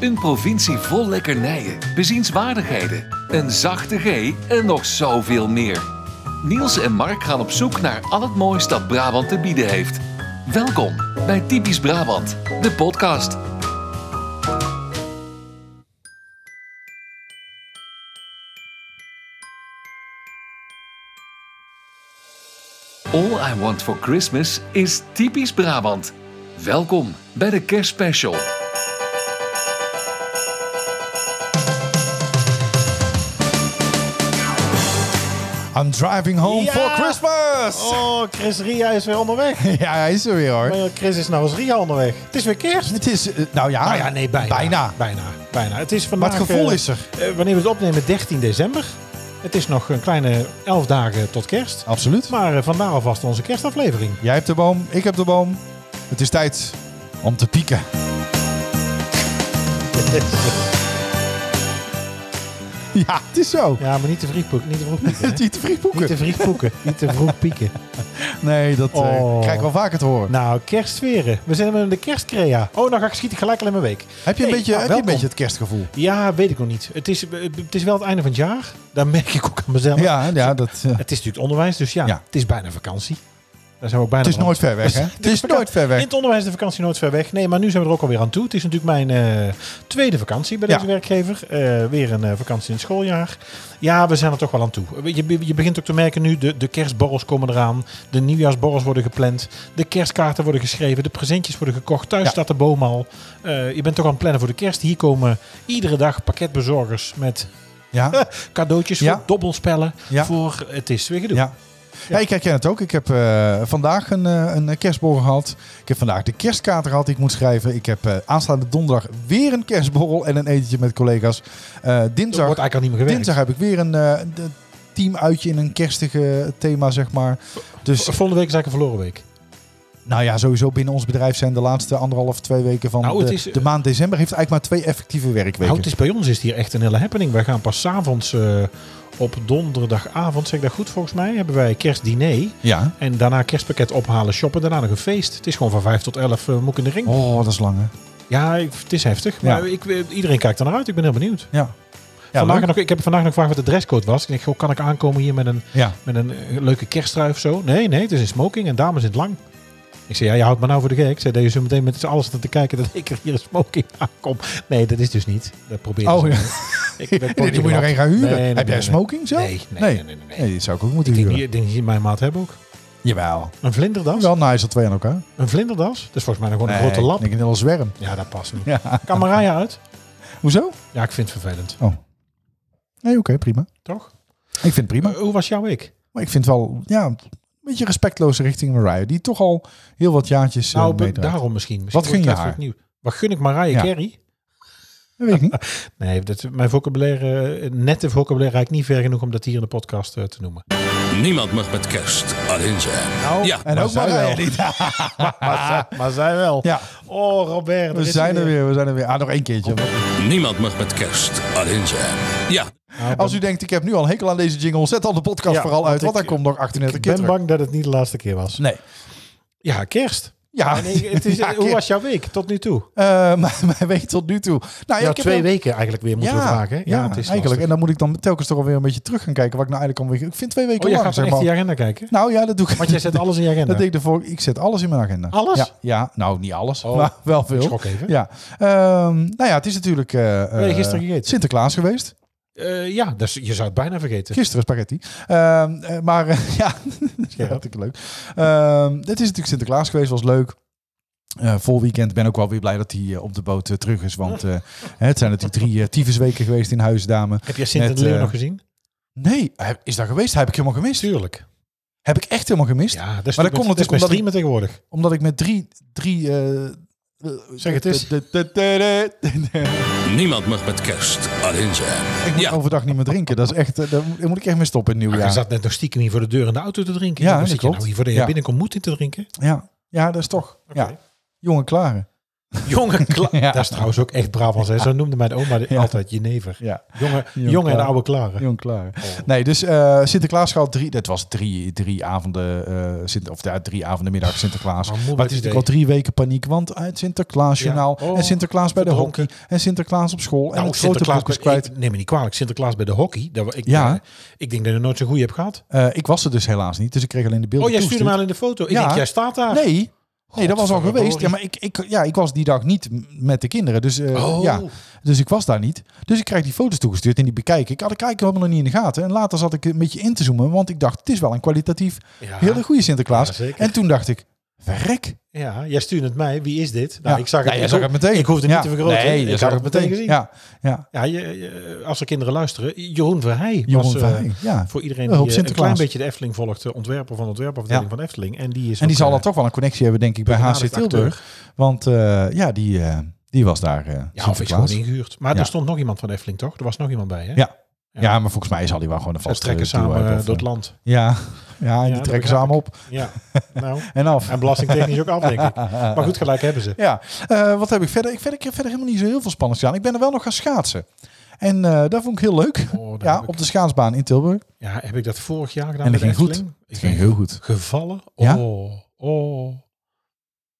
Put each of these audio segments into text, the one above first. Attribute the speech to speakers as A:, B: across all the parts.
A: Een provincie vol lekkernijen, bezienswaardigheden, een zachte G en nog zoveel meer. Niels en Mark gaan op zoek naar al het moois dat Brabant te bieden heeft. Welkom bij Typisch Brabant, de podcast. All I Want for Christmas is typisch Brabant. Welkom bij de kerstspecial.
B: I'm driving home
C: Ja!
B: for Christmas!
C: Oh, Chris Ria is weer onderweg.
B: Ja, hij is er weer hoor.
C: Eh, Chris is nou als Ria onderweg. Het is weer kerst.
B: Het is, eh, nou ja,
C: Nou ja, nee, bijna.
B: bijna.
C: Bijna. bijna. Het is vandaag,
B: Maar het gevoel
C: eh,
B: is er.
C: eh, wanneer we het opnemen, 13 december. Het is nog een kleine 11 dagen tot kerst.
B: Absoluut.
C: Maar eh, vandaar alvast onze kerstaflevering.
B: Jij hebt de boom, ik heb de boom. Het is tijd om te pieken. Ja, het is zo.
C: Ja, maar niet te vroeg poeken. Niet te vroeg pieken. hè?
B: Niet te vroeg
C: Niet te
B: boeken.
C: vroeg poeken. Niet te vroeg pieken.
B: Nee, dat eh,
C: Oh.
B: krijg ik wel vaker te horen.
C: Nou, kerstsferen. We zijn in de kerstcrea. Oh, nou ga ik schieten gelijk al in mijn week.
B: heb je een,
C: Nee,
B: beetje, heb je
C: nou,
B: een
C: welkom.
B: beetje het kerstgevoel?
C: Ja, weet ik nog niet. Het is, eh, het is wel het einde van het jaar. Daar merk ik ook aan mezelf.
B: Ja, ja dat, eh,
C: Het is natuurlijk onderwijs, dus ja,
B: Ja.
C: het is bijna vakantie. Daar zijn we ook bijna
B: het is
C: aan.
B: nooit ver weg, hè? Het is nooit ver
C: In
B: weg.
C: het onderwijs is de vakantie nooit ver weg. Nee, maar nu zijn we er ook alweer aan toe. Het is natuurlijk mijn eh, tweede vakantie bij
B: Ja.
C: deze werkgever. Eh, weer een eh, vakantie in het schooljaar. Ja, we zijn er toch wel aan toe. Je, je begint ook te merken nu, de, de kerstborrels komen eraan. De nieuwjaarsborrels worden gepland. De kerstkaarten worden geschreven. De presentjes worden gekocht. Thuis
B: Ja.
C: staat de boom al. Eh, je bent toch aan het plannen voor de kerst. Hier komen iedere dag pakketbezorgers met
B: Ja,
C: cadeautjes
B: Ja.
C: voor dobbelspellen.
B: Ja.
C: Voor het is weer gedoe.
B: ja. Ja, ik herken het ook. Ik heb eh, vandaag een, eh, een kerstborrel gehad. Ik heb vandaag de kerstkaart gehad die ik moet schrijven. Ik heb eh, aanstaande donderdag weer een kerstborrel en een etentje met collega's. Eh,
C: Er wordt
B: dinsdag,
C: eigenlijk al niet meer gewerkt.
B: dinsdag heb ik weer een eh, de- teamuitje in een kerstige thema, zeg maar. Dus
C: Volgende week is eigenlijk een verloren week.
B: nou ja, sowieso binnen ons bedrijf zijn de laatste anderhalf, twee weken van
C: Nou, het
B: de,
C: is-
B: de maand december... heeft eigenlijk maar twee effectieve werkweken.
C: Nou, het is bij ons is het hier echt een hele happening. Wij gaan pas 's avonds eh, op donderdagavond, zeg ik dat goed volgens mij, hebben wij kerstdiner.
B: Ja.
C: En daarna kerstpakket ophalen, shoppen, daarna nog een feest. Het is gewoon van 5 tot 11 eh moek in de ring.
B: Oh, dat is lang, hè?
C: Ja, ik- het is heftig. Maar ik, eh, iedereen kijkt er naar uit. Ik ben heel benieuwd.
B: Ja. Ja,
C: vandaag
B: leuk.
C: nog, ik heb vandaag nog gevraagd wat de dresscode was. Ik denk, goh, kan ik aankomen hier met een,
B: ja.
C: met een eh, leuke kersttrui of zo? Nee, nee, het is in smoking en dames in het lang. Ik zei, ja, je houdt me nou voor de gek. Ik zei, dat je zo meteen met z'n allen staat te kijken dat ik er hier in smoking aankom. Nee, dat is dus niet. Dat probeer
B: Oh,
C: ik.
B: ja.
C: Ik ben
B: Nee, die moet je nog één gaan huren. heb jij smoking zelf?
C: Nee, nee, nee, nee. nee, nee.
B: Nee, die zou ik ook moeten
C: Ik denk
B: huren.
C: niet, ik denk niet dat je mijn maat hebt ook.
B: Jawel.
C: Een vlinderdas?
B: Wel nice, dat twee aan elkaar.
C: Een vlinderdas? Dat is volgens mij nog gewoon een grote lap.
B: Ik denk een hele zwerm.
C: Ja, dat past niet.
B: Ja.
C: Kan Marije uit?
B: Hoezo?
C: Ja, ik vind het vervelend.
B: Nee, oké, prima.
C: Toch?
B: Ik vind het prima.
C: Eh, hoe was jouw week?
B: Maar ik vind wel, ja, een beetje respectloos richting Mariah. Die toch al heel wat jaartjes eh,
C: nou, be-
B: meedraait.
C: daarom misschien. misschien
B: Wat gun je
C: wordt het
B: haar?
C: opnieuw. Wat gun ik Marije
B: Ja.
C: Carey?
B: Dat weet ik niet.
C: Nee, dat, mijn vocabulaire, eh, nette vocabulaire reikt niet ver genoeg om dat hier in de podcast eh, te noemen.
D: Niemand mag met kerst alleen zijn.
C: Nou,
D: ja,
B: en
D: maar
B: ook
D: zij
B: Mariah
D: wel.
B: niet.
C: Maar, zij wel.
B: Ja,
C: Oh, Robert.
B: we zijn er weer, we zijn er weer. Ah, nog één keertje.
D: Niemand mag met kerst alleen zijn. Ja,
C: Nou,
B: Als u denkt, ik heb nu al een hekel aan deze jingle, zet dan de podcast
C: Ja,
B: vooral uit,
C: want
B: want
C: ik-
B: daar komt nog 38
C: Ik
B: keer
C: ben
B: terug.
C: bang dat het niet de laatste keer was.
B: Nee.
C: Ja, kerst.
B: Ja,
C: Nee, het is,
B: Ja,
C: hoe
B: keer.
C: was jouw week tot nu toe?
B: Eh, maar mijn week tot nu toe. Nou, ja,
C: Ah, Ja,
B: ik heb
C: twee
B: wel-
C: weken eigenlijk weer moeten we vragen. hè?
B: ja,
C: het is
B: eigenlijk. En dan moet ik dan telkens toch alweer een beetje terug gaan kijken. Wat ik nou eigenlijk alweer... Ik vind twee weken
C: Oh, jij
B: lang,
C: gaat dan
B: zeg
C: echt
B: maar.
C: die agenda kijken?
B: Nou ja, dat doe ik.
C: Want jij zet alles in je agenda.
B: Dat deed ik de vorige- Ik zet alles in mijn agenda.
C: Alles?
B: Ja, ja nou niet alles,
C: Oh,
B: maar wel veel.
C: Ik schrok even.
B: Ja. Ehm, nou ja, het is natuurlijk eh, eh,
C: Ben je gisteren gegeten?
B: Sinterklaas geweest.
C: Eh, ja, dus je zou het bijna vergeten.
B: Gisteren spaghetti. Ehm, eh, maar eh, ja, dat is
C: Ja.
B: hartstikke leuk. Ehm, het is natuurlijk Sinterklaas geweest, was leuk. Eh, vol weekend ben ook wel weer blij dat hij eh, op de boot eh, terug is. Want eh, het zijn natuurlijk drie eh, tyfusweken geweest in Huisdame.
C: Heb jij Sint
B: Met,
C: en Leeuw
B: eh,
C: nog gezien?
B: Nee, hij- is dat geweest? Heb ik helemaal gemist?
C: Tuurlijk.
B: Heb ik echt helemaal gemist?
C: Ja, dat is
B: Maar
C: maar
B: dat
C: dat
B: komt
C: komt
B: natuurlijk
C: het bij
B: omdat
C: streamen tegenwoordig.
B: Omdat ik met drie... drie eh,
C: Zeg het eens.
B: de- de- de- de- de- de-
D: niemand mag met kerst alleen zijn.
B: Ik moet
D: Ja,
B: overdag niet meer drinken. Dat is echt, eh, daar moet- daar moet ik echt mee stoppen in het
C: Ja. Je
B: nieuwjaar.
C: zat net nog stiekem hier voor de deur in de auto te drinken.
B: Ja,
C: Ja,
B: dat
C: zit je
B: klopt.
C: nou hier voor de
B: Ja.
C: binnenkomt moet in te drinken.
B: Ja. ja, dat is toch.
C: Oké.
B: Ja. Jongen klaren.
C: Jonge Kla-
B: Ja.
C: Dat is trouwens ook echt Brabants. hè. Zo noemde mijn oma de,
B: Ja.
C: altijd Jenever.
B: Ja,
C: Jonge,
B: Jonge
C: jonge, en
B: Klaar.
C: oude klaren.
B: jong klaar.
C: Oh.
B: Nee, dus eh Sinterklaas gaat drie... Dat was drie, drie avonden... eh, Sint, of ja, drie avonden middag Sinterklaas.
C: Maar
B: Maar,
C: moe
B: het is
C: werd
B: natuurlijk
C: idee.
B: al drie weken paniek. Want uit Sinterklaasjournaal...
C: Ja. Oh,
B: en Sinterklaas bij de
C: verdronken.
B: hockey. En Sinterklaas op school. en
C: Nou,
B: het grote boek is
C: bij-
B: kwijt.
C: Ik, neem me niet kwalijk. Sinterklaas bij de hockey. Dat, we- ik,
B: Ja.
C: eh, ik denk dat je nooit zo'n goede hebt gehad.
B: Eh, ik was er dus helaas niet. Dus ik kreeg alleen de beelden
C: Oh, jij stuurde me
B: toegestuurd.
C: al in de foto. Ik
B: Ja.
C: denk, jij staat daar.
B: Nee. Nee,
C: Oh,
B: dat was al
C: Godverdorie.
B: geweest. Ja, maar ik, ik, ja, ik was die dag niet m- met de kinderen. Dus, eh,
C: Oh.
B: ja, dus ik was daar niet. Dus ik krijg die foto's toegestuurd en die bekijk ik. Had ik eigenlijk helemaal nog niet in de gaten. En later zat ik een beetje in te zoomen. Want ik dacht, het is wel een kwalitatief
C: Ja.
B: hele goede Sinterklaas.
C: Ja, zeker.
B: en toen dacht ik, verrek.
C: Ja, jij stuurde het mij. Wie is dit? Nou,
B: Ja.
C: ik zag het,
B: Nee, jij
C: ik
B: zag
C: ho-
B: het meteen.
C: Ik hoefde niet
B: Ja.
C: te vergroten.
B: Nee, je
C: ik
B: zag
C: had
B: het meteen.
C: gezien. Ja,
B: Ja, ja.
C: je, je- als er kinderen luisteren. Jeroen Verheij
B: Jeroen
C: was eh,
B: Verheij, ja.
C: voor iedereen
B: Een
C: die
B: hoop
C: eh, een
B: Sinterklaas.
C: klein beetje de Efteling volgt. eh, Ontwerper van de ontwerpafdeling
B: Ja.
C: van Efteling. En die is
B: En die
C: ook,
B: zal
C: eh,
B: dan toch wel een connectie hebben, denk ik, bij HC
C: begenadigd
B: Tilburg. Want eh, ja, die, eh, die was daar eh
C: Ja, of is
B: Sinterklaas.
C: gewoon ingehuurd. Maar
B: Ja.
C: er stond nog iemand van Efteling, toch? Er was nog iemand bij, hè?
B: Ja. Ja, maar volgens mij zal hij wel gewoon een
C: Ze
B: vaste
C: trekken
B: duo
C: samen
B: hebben
C: eh,
B: of,
C: door het
B: eh,
C: land.
B: Ja, ja en
C: Ja,
B: die trekken
C: dat begrijp
B: samen
C: ik.
B: op
C: Ja, nou.
B: en af.
C: En belastingtechnisch ook af, denk ik. Maar goed, gelijk hebben ze.
B: Ja, eh, wat heb ik verder? Ik, verder? ik heb verder helemaal niet zo heel veel spannend gedaan. Ik ben er wel nog gaan schaatsen. En eh dat vond ik heel leuk.
C: Oh, daar
B: ja,
C: heb ik-
B: op de schaatsbaan in Tilburg.
C: Ja, heb ik dat vorig jaar gedaan
B: En dat
C: bij de
B: ging goed.
C: Efteling? Ik ben
B: ging heel goed.
C: gevallen.
B: Ja?
C: Oh, oh.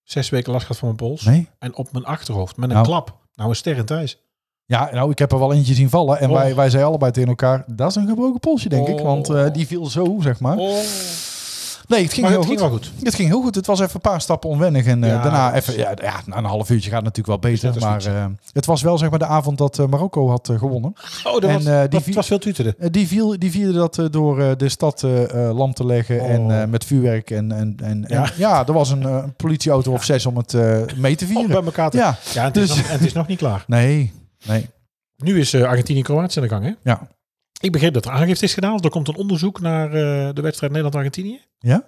C: Zes weken last gehad van mijn pols.
B: Nee?
C: En op mijn achterhoofd, met een
B: Nou.
C: klap. Nou, een ster in thuis.
B: Ja, nou, ik heb er wel eentje zien vallen. En
C: Oh.
B: wij, wij zeiden allebei tegen elkaar, dat is een gebroken polsje, denk ik. Want eh, die viel zo, zeg maar.
C: Oh.
B: Nee, het ging
C: Maar
B: heel
C: het
B: goed.
C: ging wel goed.
B: Het ging heel goed. Het was even een paar stappen onwennig. En eh,
C: Ja,
B: daarna
C: dat is-
B: even, ja, ja, na een half uurtje gaat het natuurlijk wel beter.
C: net als
B: Maar eh, het was wel, zeg maar, de avond dat eh, Marokko had eh, gewonnen.
C: Oh, dat
B: En,
C: was,
B: eh, die
C: dat
B: vi-
C: was veel tuteren.
B: Eh, Die, viel, die vierde dat eh, door eh, de stad eh, eh, lam te leggen
C: Oh.
B: en eh, met vuurwerk. En, en, en, ja.
C: Ja.
B: en ja, er was een eh, een politieauto of zes om het eh, mee te
C: Oh,
B: vieren.
C: bij elkaar te... Ja,
B: ja,
C: en, het is
B: Dus-
C: nog, en het is nog niet klaar.
B: nee, nee.
C: Nu is eh, Argentinië-Kroatië aan de gang, hè?
B: Ja.
C: Ik begreep dat er aangifte is gedaan. want Er komt een onderzoek naar eh, de wedstrijd Nederland-Argentinië.
B: Dat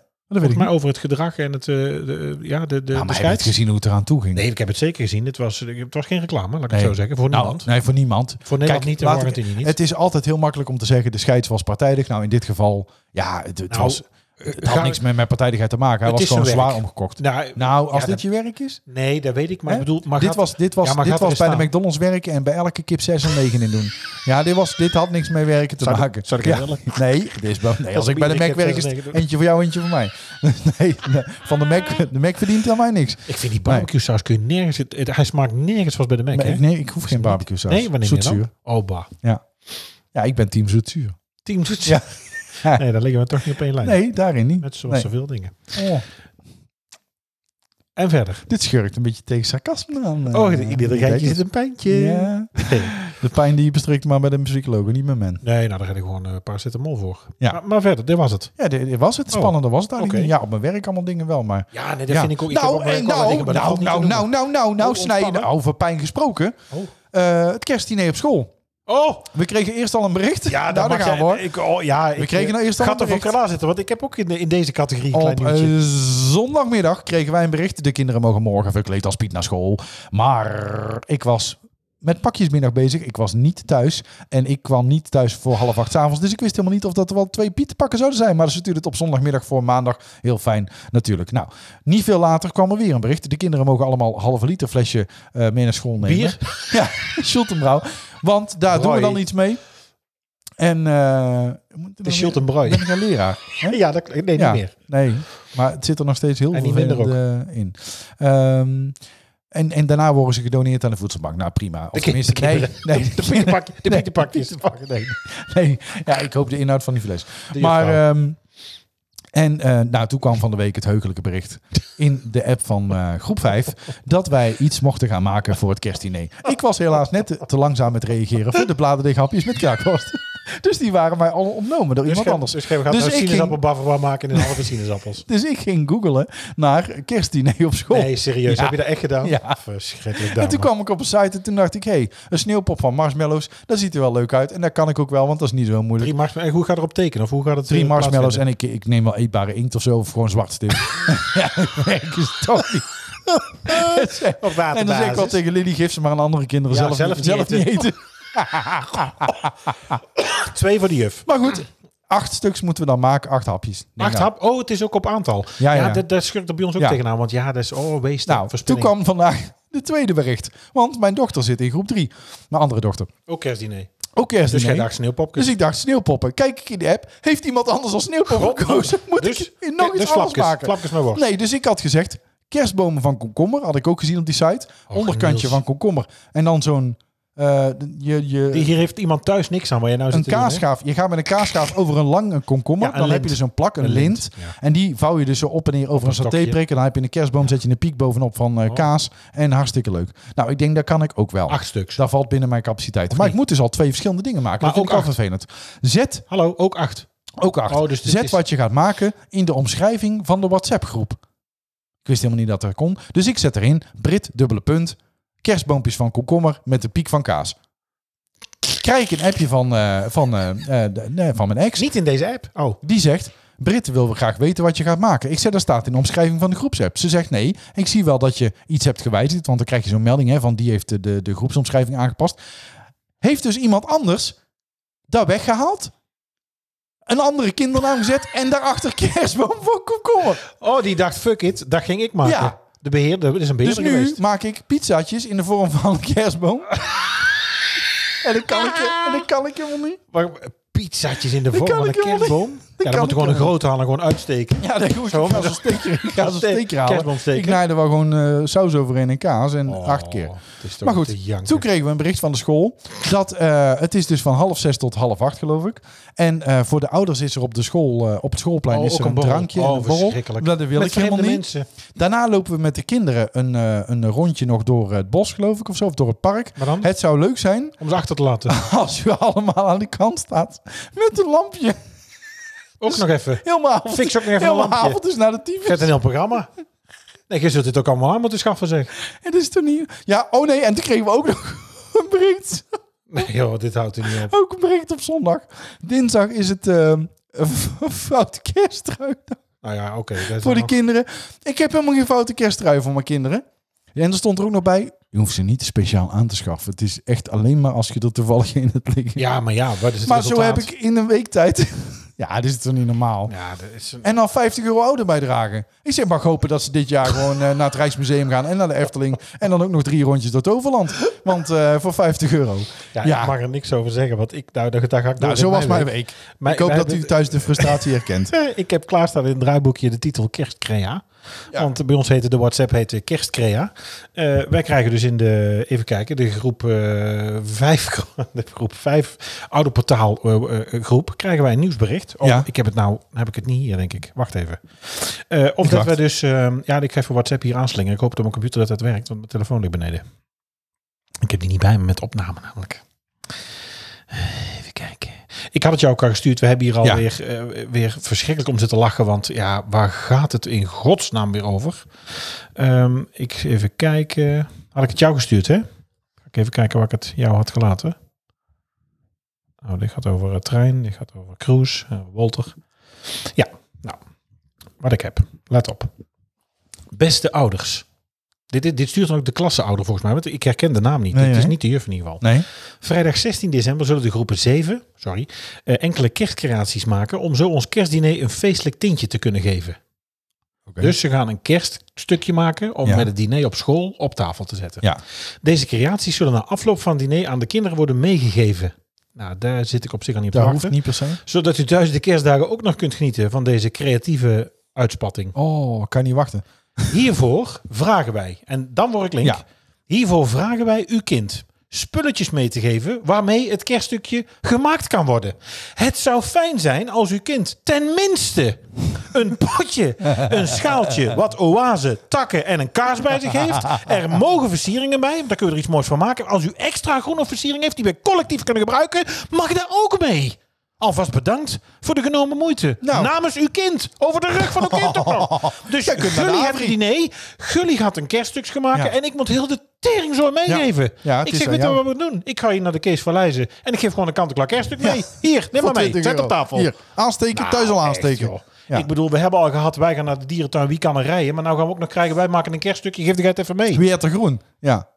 B: weet ik
C: Volgens
B: niet.
C: mij over het gedrag en het, eh, de, ja, de, de,
B: Ja,
C: de
B: maar heb je
C: scheids.
B: het gezien hoe het eraan toe ging?
C: Nee, ik heb het zeker gezien. Het was, het was geen reclame, laat ik
B: Nee.
C: het zo zeggen. Voor
B: Nou,
C: niemand.
B: nee, voor niemand.
C: Voor
B: Kijk,
C: Nederland niet en
B: laat
C: voor
B: ik-
C: Argentinië niet.
B: Het is altijd heel makkelijk om te zeggen, de scheids was partijdig. Nou, in dit geval, ja, het, het
C: Nou,
B: was, het had
C: ga-
B: niks met, met partijdigheid te maken. Hij
C: Het
B: was
C: is
B: gewoon
C: zijn
B: zwaar
C: werk.
B: omgekocht.
C: nou,
B: Nou, als
C: ja,
B: dit
C: dat-
B: je werk is...
C: nee, dat weet ik. Maar
B: Hè?
C: ik bedoel, maar
B: dit
C: gaat-
B: was, dit was,
C: Ja, maar
B: dit
C: gaat er
B: was bij de
C: staan?
B: McDonald's werken en bij elke kip 6 en 9 in doen. Ja, dit, was, dit had niks mee werken te
C: Zou ik-
B: maken.
C: zou ik
B: ja.
C: eerlijk?
B: Nee, dit is wel- nee, als ik bij de
C: iedere
B: Mac
C: kip
B: werk is
C: 6 en 9
B: het
C: doen.
B: eentje voor jou, eentje voor mij. Nee, nee, van de Mac,
C: Ah.
B: de Mac verdient aan mij niks.
C: Ik vind die barbecue saus kun je nergens. Het, het- hij smaakt nergens zoals bij de Mac.
B: Maar
C: hè?
B: ik, nee, ik hoef geen barbecue saus.
C: nee, wanneer
B: Zoetzuur.
C: dan? Oh, bah.
B: Ja, ik ben team zoetzuur.
C: Team zoet.
B: Ja.
C: Nee, daar liggen we toch niet op één lijn.
B: Nee, daarin niet.
C: Net zoals
B: Nee.
C: zoveel dingen.
B: Oh,
C: En verder.
B: dit schurkt een beetje tegen sarcasme aan. eh,
C: Oh, in ieder
B: een
C: rijtje
B: beetje.
C: zit een pijntje.
B: Ja. De pijn die je bestrikt maar bij de muzieklogo, niet met men.
C: Nee, nou, daar ga ik gewoon eh, paracetamol voor.
B: Ja.
C: Maar, maar verder, dit was het.
B: Ja, dit, dit was het. Spannender was het eigenlijk
C: oké.
B: niet. Ja, op mijn werk allemaal dingen wel, maar...
C: Ja, nee,
B: Ja. nou, en nou, nou, nou, nou, nou, nou, nou,
C: Oh,
B: snijden.
C: ontspannen.
B: Over pijn gesproken.
C: Oh.
B: Eh, het kerstdiner op school.
C: Oh,
B: We kregen eerst al een bericht.
C: ja,
B: nou,
C: daar
B: daar
C: mag
B: gaan we
C: jij,
B: hoor.
C: ik, oh, ja, We
B: kregen nou eerst al
C: Ga
B: een
C: toch van
B: bericht.
C: klaar zitten, want ik heb ook in, de- in deze categorie een
B: Op
C: klein nieuwtje.
B: eh, zondagmiddag kregen wij een bericht. De kinderen mogen morgen verkleed als Piet naar school. Maar ik was met pakjesmiddag bezig. Ik was niet thuis. En ik kwam niet thuis voor half acht 's avonds. Dus ik wist helemaal niet of dat er wel twee Piet pakken zouden zijn. Maar ze stuurden het op zondagmiddag voor maandag. Heel fijn natuurlijk. Nou, niet veel later kwam er weer een bericht. De kinderen mogen allemaal halve liter flesje eh, mee naar school nemen.
C: Bier?
B: Ja, Schultenbrouw. Want daar doen we
C: Roy.
B: dan iets mee. En... eh
C: De Schultenbrouw.
B: Ben ik een leraar? Hè?
C: Ja, dat, nee, niet meer.
B: Nee, maar het zit er nog steeds heel
C: En
B: veel eh,
C: die minder
B: in. Ehm, en, en daarna worden ze gedoneerd aan de voedselbank. Nou, prima. Of
C: De kind-
B: tenminste,
C: de
B: nee,
C: kinderen.
B: nee,
C: De pietenpak, de
B: Nee,
C: pietenpak is.
B: nee, nee. Ja, ik hoop de inhoud van die fles.
C: De
B: maar,
C: juffrouw.
B: ehm, en eh, nou, toen kwam van de week het heugelijke bericht in de app van eh, groep 5 dat wij iets mochten gaan maken voor het kerstdiner. Ik was helaas net te, te langzaam met reageren voor de bladerdeeghapjes met kraakworst. Dus die waren mij al ontnomen door iemand
C: Schep-
B: anders.
C: Dus Schep gaat
B: Dus
C: nou
B: ik ging-
C: sinaasappelbaffen waar maken in een halve sinaasappels.
B: Dus ik ging googelen naar kerstdiner op school.
C: Nee, serieus.
B: Ja.
C: Heb je dat echt gedaan?
B: Ja.
C: Verschrikkelijk
B: en toen
C: dame.
B: kwam ik op een site en toen dacht ik, hé, hey, een sneeuwpop van marshmallows, dat ziet er wel leuk uit. En dat kan ik ook wel, want dat is niet zo moeilijk.
C: Drie marshmallows. En hoe gaat erop tekenen? Of hoe gaat het
B: Drie,
C: eh,
B: marshmallows en
C: plaatsvinden?
B: ik, ik neem wel eetbare inkt of zo, of gewoon zwart stift. ja, dat werkt dus toch niet.
C: Op waterbasis.
B: En dan zeg ik wel tegen Lily, geef ze maar aan andere kinderen
C: Ja,
B: zelf,
C: zelf
B: zelf,
C: niet
B: niet eten.
C: Twee voor de juf.
B: Maar goed, acht stuks moeten we dan maken, acht hapjes. Nou,
C: Acht hap. Oh, het is ook op aantal.
B: Ja,
C: Ja,
B: ja, ja.
C: dat, dat schurkt er bij ons ook
B: Ja.
C: tegenaan. Want ja, dat is oh, wees
B: Nou, toen
C: verspilling.
B: kwam vandaag de tweede bericht. Want mijn dochter zit in groep drie. Mijn andere dochter.
C: Ook kerstdiner.
B: Ook kerst.
C: Dus jij dacht sneeuwpopjes.
B: Dus ik dacht sneeuwpoppen. Kijk ik in de app, heeft iemand anders al sneeuwpoppen
C: God,
B: gekozen? Moet
C: dus-
B: ik nog
C: dus
B: iets anders
C: flapjes,
B: maken?
C: flapjes met worst.
B: Nee, dus ik had gezegd kerstbomen van komkommer. Had ik ook gezien op die site. Onderkantje
C: Niels.
B: van komkommer. En dan zo'n... eh, je, je,
C: Die- Hier heeft iemand thuis niks aan waar jij nou
B: een
C: zit te doen, hè?
B: kaasschaaf. Je gaat met een kaasschaaf over een lange komkommer.
C: Ja, een
B: dan heb
C: lint.
B: je dus een plak, een,
C: Een
B: lint.
C: lint, ja.
B: En die vouw je dus zo op en neer over een,
C: een stokje. Oh.
B: satépreek. En dan heb je een kerstboom, zet je een piek bovenop van eh, kaas. En hartstikke leuk. Nou, ik denk dat kan ik ook wel.
C: Acht stuks.
B: Dat valt binnen mijn capaciteit. Maar ik moet dus al twee verschillende dingen maken.
C: Maar
B: dat vind
C: ook
B: ik al vervelend. Zet
C: Hallo, ook acht.
B: ook achter.
C: Oh, dus dit
B: Zet
C: is-
B: wat je gaat maken in de omschrijving van de WhatsApp-groep. Ik wist helemaal niet dat dat kon. Dus ik zet erin Brit, dubbele punt, kerstboompjes van komkommer met de piek van kaas. Krijg ik een appje van, eh, van, eh, eh, de- nee, van mijn ex.
C: Niet in deze app. Oh,
B: Die zegt, Brit wil graag weten wat je gaat maken. Ik zeg, dat staat in de omschrijving van de groepsapp. Ze zegt nee. Ik zie wel dat je iets hebt gewijzigd. Want dan krijg je zo'n melding hè, van die heeft de, de, de groepsomschrijving aangepast. Heeft dus iemand anders dat weggehaald? Een andere kindernaam gezet en daarachter kerstboom voor komkommer.
C: oh die dacht, fuck it, dat ging ik maken.
B: Ja.
C: De beheerder, dat is een
B: Dus
C: beheerder
B: nu
C: geweest.
B: maak ik pizzaatjes in de vorm van een kerstboom. en dat kan ik, en dat kan ik helemaal niet.
C: Maar, eh, pizzaatjes in de vorm
B: kan
C: van een
B: ik helemaal
C: kerstboom. Ja,
B: kan
C: dan moet
B: ik
C: je gewoon een
B: helemaal
C: grote handen gewoon uitsteken.
B: Ja, dat goed.
C: Zo,
B: Ik ga
C: met
B: zo'n
C: een-
B: steker, ik ga zo'n steker halen.
C: Kerstboomsteker.
B: Ik naai er wel gewoon eh, saus overheen en kaas en
C: Oh,
B: acht keer.
C: het is toch
B: Maar
C: te
B: goed,
C: janken.
B: toen kregen we een bericht van de school. Dat eh, het is dus van half zes tot half acht, geloof ik. En eh, voor de ouders is er op, de school, eh, op het schoolplein
C: Oh,
B: is
C: ook
B: er
C: een
B: een,
C: borrel.
B: drankje
C: Oh,
B: en een borrel.
C: verschrikkelijk.
B: Dat wil
C: Met
B: ik helemaal
C: vreemde
B: niet.
C: mensen.
B: Daarna lopen we met de kinderen een, eh, een rondje nog door het bos, geloof ik, of zo. Of door het park.
C: Maar dan?
B: Het zou leuk zijn
C: Om ze achter te laten.
B: als u allemaal aan de kant staat met een lampje.
C: Ook nog even.
B: Helemaal avond.
C: Fix ook nog even een
B: helemaal
C: lampje.
B: avond is naar de tyfus.
C: Zet een heel programma. Nee, je zult dit ook allemaal aan moeten schaffen, zeg.
B: Het is toch niet... Ja, oh nee, en toen kregen we ook nog een bericht.
C: Nee joh, dit houdt er niet op.
B: Ook een bericht op zondag. Dinsdag is het ehm een foute kersttrui
C: Nou ja, oké. dat is
B: voor de
C: allemaal-
B: kinderen. Ik heb helemaal geen foute kersttrui voor mijn kinderen. Ja, En er stond er ook nog bij... Je hoeft ze niet speciaal aan te schaffen. Het is echt alleen maar als je er toevallig in hebt liggen.
C: Ja, maar ja, wat is het
B: maar zo
C: resultaat?
B: heb ik in een week tijd... ja, dit is toch niet normaal?
C: Ja, dat is een...
B: En dan 50 euro ouder bijdragen. Ik zeg, mag hopen dat ze dit jaar gewoon eh, naar het Rijksmuseum gaan en naar de Efteling. En dan ook nog drie rondjes door het Overland. Want eh, voor 50 euro.
C: Ja,
B: Ja.
C: ik mag er niks over zeggen, want ik, nou, daar, daar ga ik
B: Nou,
C: door
B: zo
C: in
B: was mijn week.
C: Mijn-
B: ik hoop
C: wij
B: dat
C: hebben-
B: u thuis de frustratie herkent.
C: Eh, Ik heb klaarstaan in het draaiboekje de titel Kerstcrea. Want bij ons heette de WhatsApp heette Kerstcrea. Eh, wij krijgen dus in de, even kijken, de groep 5, de groep 5 oude portaal eh, eh, groep, krijgen wij een nieuwsbericht. Oh,
B: Ja.
C: ik heb het nou, heb ik het niet hier denk ik. Wacht even. Eh, of dat
B: wacht.
C: wij dus, eh, ja ik ga even WhatsApp hier aanslingen. Ik hoop dat mijn computer dat dat werkt, want mijn telefoon ligt beneden. Ik heb die niet bij me met opname namelijk. Eh, Even kijken. Ik had het jou ook al gestuurd. We hebben hier
B: Ja.
C: alweer eh, weer verschrikkelijk om zitten lachen. Want ja, waar gaat het in godsnaam weer over? Ehm, ik even kijken. Had ik het jou gestuurd, hè? Ga ik even kijken waar ik het jou had gelaten. Oh, dit gaat over eh, trein, dit gaat over cruise, eh, Wolter. Ja, nou, wat ik heb. Let op. Beste ouders. Dit, dit, dit stuurt dan ook de klasseouder volgens mij, want ik herken de naam niet.
B: Nee,
C: het is
B: nee.
C: niet de juf in ieder geval.
B: Nee?
C: Vrijdag 16 december zullen de groepen 7 sorry, eh, enkele kerstcreaties maken om zo ons kerstdiner een feestelijk tintje te kunnen geven. Dus ze gaan een kerststukje maken om
B: Ja.
C: met het diner op school op tafel te zetten.
B: Ja.
C: Deze creaties zullen na afloop van het diner aan de kinderen worden meegegeven. Nou, daar zit ik op zich al niet op
B: Dat
C: te
B: hoeft
C: wachten.
B: niet per se.
C: Zodat u thuis de kerstdagen ook nog kunt genieten van deze creatieve uitspatting.
B: Oh, kan niet wachten.
C: Hiervoor vragen wij, en dan word ik link.
B: Ja.
C: Hiervoor vragen wij uw kind spulletjes mee te geven waarmee het kerststukje gemaakt kan worden. Het zou fijn zijn als uw kind tenminste een potje, een schaaltje, wat oase, takken en een kaas bij zich heeft. Er mogen versieringen bij, want daar kun je er iets moois van maken. Als u extra groene versiering heeft die we collectief kunnen gebruiken, mag daar ook mee. Alvast bedankt voor de genomen moeite.
B: Nou.
C: Namens uw kind. Over de rug van uw kind ook nog. Dus
B: Jij kunt naar de
C: jullie
B: Avri.
C: hebben diner. Gully gaat een kerststuks maken
B: Ja.
C: en ik moet heel de tering zo meegeven.
B: Ja, het
C: ik
B: is
C: zeg
B: aan
C: weet je
B: jou.
C: wat we moeten doen. Ik ga hier naar de Kees van Leijzen en ik geef gewoon een kant-en-klaar kerststuk mee. Hier, neem maar mee. Zet op tafel.
B: Hier, aansteken,
C: Nou,
B: thuis al
C: echt,
B: aansteken.
C: joh.
B: ja.
C: Ik bedoel, we hebben al gehad, wij gaan naar de dierentuin, wie kan er rijden? Maar nou gaan we ook nog krijgen, wij maken een kerststukje, geef de geit even mee.
B: Weer te groen. Ja.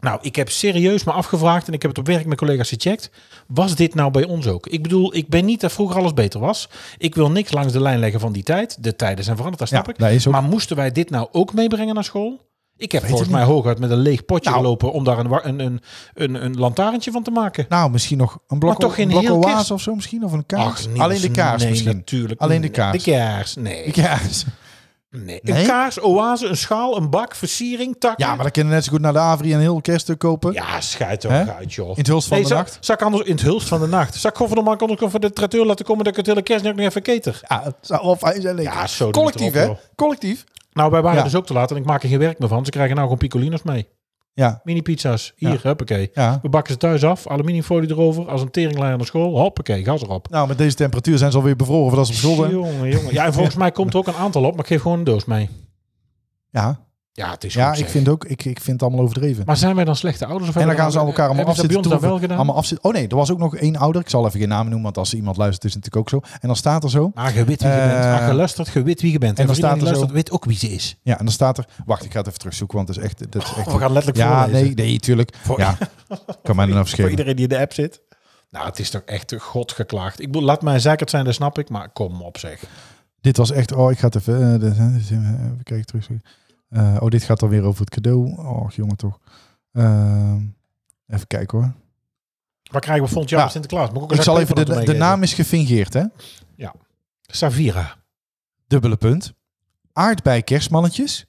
C: Nou, ik heb serieus me afgevraagd en ik heb het op werk met collega's gecheckt. Was dit nou bij ons ook? Ik bedoel, ik ben niet dat vroeger alles beter was. Ik wil niks langs de lijn leggen van die tijd. De tijden zijn veranderd, dat snap
B: Ja,
C: ik.
B: dat is ook-
C: Maar moesten wij dit nou ook meebrengen naar school? Ik heb
B: Weet
C: volgens
B: ik
C: mij hooguit met een leeg potje
B: Nou.
C: gelopen om daar een, wa- een, een, een, een lantaarntje van te maken.
B: Nou, misschien nog een blok,
C: Maar toch geen
B: een blok
C: heel
B: oase
C: kerst.
B: of zo misschien? Of een kaars?
C: Niels,
B: Alleen de kaars
C: nee,
B: misschien.
C: Natuurlijk.
B: Alleen de
C: Nee,
B: kaars.
C: De kaars, nee.
B: De kaars.
C: nee.
B: Nee?
C: Een kaars, oase, een schaal, een bak, versiering, takken.
B: Ja, maar dan kunnen we net zo goed naar de Avri een heel kerststuk kopen.
C: Ja, schijt toch
B: Hè?
C: uit, joh.
B: In het hulst van de
C: zak-
B: nacht.
C: Zak anders in het hulst van de nacht. Zak gewoon van de markt anders voor de tracteur laten komen dat ik het hele kerstnacht nog even keter.
B: Ja, het zou wel fijn zijn. lekker.
C: Ja, zo doe
B: Collectief,
C: het erop,
B: hè? Collectief.
C: Nou, wij waren
B: Ja.
C: dus ook te laat en ik maak er geen werk meer van. Ze krijgen nou gewoon piccolinos mee.
B: Ja,
C: Mini pizza's. Hier,
B: Ja.
C: huppakee.
B: ja.
C: We bakken ze thuis af, aluminiumfolie erover, als een teringlijn aan de school. Hoppakee, gas erop.
B: Nou, met deze temperatuur zijn ze alweer bevroren voordat ze op school zijn.
C: Jongen, jongen. Ja, en volgens mij komt er ook een aantal op, maar ik geef gewoon een doos mee.
B: Ja,
C: Ja, het is
B: ja
C: goed,
B: ik,
C: zeg.
B: vind ook, ik, ik vind het allemaal overdreven.
C: Maar zijn wij dan slechte ouders? Of
B: en dan
C: hebben
B: gaan ze aan elkaar allemaal
C: hebben ze dat bij
B: afzitten. troeven.
C: ons dan wel gedaan?
B: Allemaal afzitten. Oh nee, er was ook nog één ouder. Ik zal even geen namen noemen, want als iemand luistert is het natuurlijk ook zo. En dan staat er zo.
C: Ah, gewit wie je
B: Eh,
C: bent. Ah, geluisterd, gewit wie je bent.
B: en
C: En,
B: dan
C: dan
B: staat er zo-
C: luistert, weet ook wie ze is.
B: Ja, en dan staat er... Wacht, ik ga het even terugzoeken, want het is echt... Dat is echt
C: Oh, we gaan letterlijk
B: ja,
C: voorlezen.
B: nee, nee, tuurlijk. Ja, kan mij nou dan
C: Voor
B: afschelen.
C: iedereen die in de app zit. Nou, het is toch echt god geklaagd. Ik bedoel, laat mij zeker zijn, dat snap ik. Maar kom op zeg.
B: Dit was echt... Oh, ik ga het even... eh, dit, eh, dit, eh, even kijken, terugzoeken. Eh, oh, dit gaat dan weer over het cadeau. Och, jongen, toch. Ehm, even kijken hoor.
C: Waar krijgen we volgend jaar
B: Nou,
C: op Sinterklaas? Moet ook een
B: Ik
C: zak
B: zal even...
C: pepernoten
B: De, de
C: meegeven?
B: naam is gefingeerd, hè?
C: Savira.
B: Dubbele punt. Aardbei kerstmannetjes.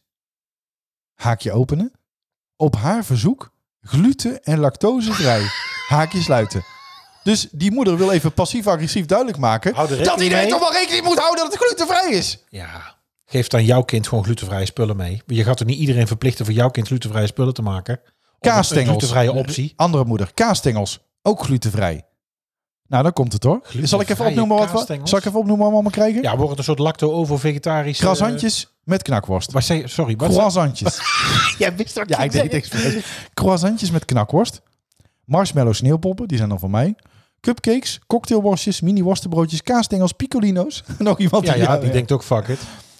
B: Haakje openen. Op haar verzoek gluten- en lactosevrij. Haakje sluiten. Dus die moeder wil even passief-agressief duidelijk maken...
C: Hou er
B: dat
C: rekening
B: iedereen
C: mee.
B: toch wel rekening moet houden dat het glutenvrij is.
C: Ja. Geef dan jouw kind gewoon glutenvrije spullen mee. Je gaat toch niet iedereen verplichten voor jouw kind glutenvrije spullen te maken? Of een- Een
B: Kaasstengels.
C: glutenvrije optie.
B: Andere moeder. Kaasstengels. Ook glutenvrij. Nou, dan komt het hoor. Zal ik even
C: Glutenvrije
B: opnoemen wat we,
C: kaasstengels?
B: zal ik even opnoemen wat we allemaal krijgen?
C: Ja, wordt het een soort lacto-ovo-vegetarisch... eh,
B: Krasantjes met knakworst.
C: wat zei, sorry, wat zei-
B: Croissantjes.
C: Jij wist wat
B: ja, ik deed het expres. Croissantjes met knakworst. Marshmallow sneeuwpoppen, die zijn dan van mij. Cupcakes, cocktailworstjes, mini worstenbroodjes, kaasstengels, picolino's. Nog iemand
C: Ja,
B: die-
C: ja, die denkt ook fuck it.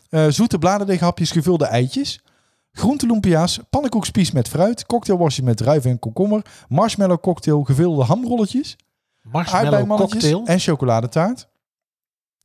B: Eh, zoete bladerdeeghapjes, gevulde eitjes. Groenteloempia's, pannenkoekspies met fruit, cocktailworstje met druiven en komkommer, marshmallow cocktail, gevulde hamrolletjes,
C: Marshmallow
B: aardbeimannetjes
C: cocktail.
B: en chocoladetaart.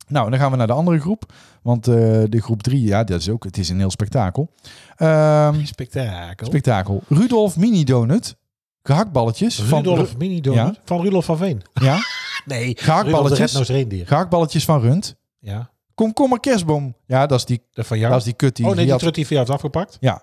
B: Nou, en dan gaan we naar de andere groep, want eh, de groep 3, ja, dat is ook, het is een heel spektakel. Ehm,
C: Spektakel.
B: spektakel. Rudolf mini donut, gehaktballetjes
C: Rudolf
B: van
C: Mini Donut.
B: Ja.
C: Van Rudolf van Veen.
B: ja,
C: Nee, Rudolf de
B: Gehaktballetjes.
C: Rednoos Reindier.
B: gehaktballetjes van Rund,
C: Ja,
B: komkommer kerstboom. Ja, dat is die,
C: dat van jou.
B: dat is die kut die,
C: oh nee,
B: die
C: die
B: had
C: trut die van jou heeft afgepakt. Oh,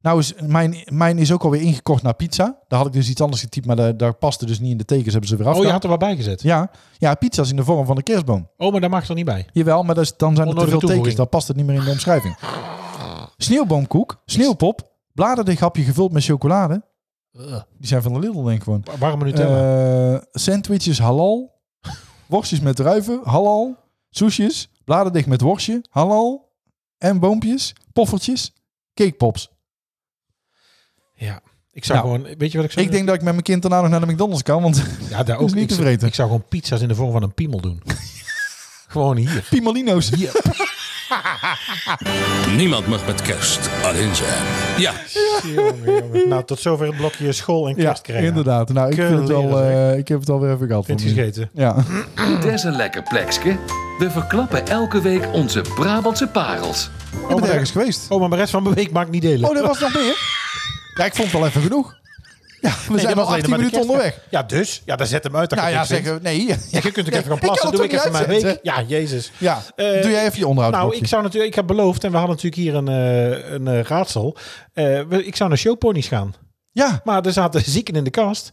B: Nou, is, mijn, mijn is ook alweer ingekort naar pizza. Daar had ik dus iets anders getypt, maar daar, daar paste dus niet in de tekens. Hebben ze weer
C: Oh, je
B: afgehaald.
C: had er wat bij gezet.
B: ja. ja, pizza is in de vorm van een kerstboom.
C: Oh, maar daar mag er niet bij.
B: Jawel, maar dat is- dan zijn er te
C: Onnodige
B: veel tekens.
C: toevoeging.
B: Dan past het niet meer in de omschrijving. Sneeuwboomkoek, sneeuwpop, bladerdeeghapje gevuld met chocolade. Die zijn van de Lidl, denk ik gewoon.
C: Wa- Warme Nutella.
B: Eh, sandwiches halal, worstjes met druiven, halal, soesjes, bladerdeeg met worstje, halal, en boompjes, poffertjes, cakepops.
C: ja. Ik zou
B: nou,
C: gewoon, weet je wat ik zou
B: Ik denk dat ik met mijn kind daarna nog naar de McDonald's kan, want
C: denk, ja, daar
B: is
C: ook
B: niet
C: ik,
B: te
C: zou-
B: vreten.
C: Ik zou gewoon pizza's in de vorm van een piemel doen. gewoon hier.
B: Pimolino's.
D: Niemand mag met kerst alleen zijn. Ja,
C: Jongen, jongen. Nou, tot zover het blokje school en
B: Ja,
C: kerstkringen.
B: inderdaad. Nou, ik,
C: Kun
B: vind het wel,
C: leren,
B: eh, ik heb het alweer even gehad.
C: Vind
B: van
C: je
B: nu.
C: gegeten?
B: Ja.
A: Des een lekker plekske. We verklappen elke week onze Brabantse parels.
B: Je
C: maar
B: bent
C: daar-
B: ergens geweest.
C: Oh, maar de rest van mijn week maak ik niet delen.
B: Oh, dat was nog meer? Ja, ik vond het wel even genoeg. Ja, we
C: Nee,
B: zijn
C: dat
B: al
C: was alleen
B: 18
C: maar de
B: minuten
C: kerst-
B: onderweg.
C: Ja, dus? Ja, dan zet hem uit. dat
B: Nou
C: ik
B: ja,
C: niks vind.
B: zeggen we- nee.
C: Ja, je kunt
B: ik
C: natuurlijk even gaan plassen. Doe ik even mijn week. Ja, jezus.
B: Ja,
C: Eh,
B: doe jij even je onderhoud.
C: Nou,
B: blokje.
C: ik zou natuurlijk, ik heb beloofd, en we hadden natuurlijk hier een, eh, een eh, raadsel. Eh, we- ik zou naar showponies gaan.
B: Ja,
C: Maar er zaten zieken in de kast.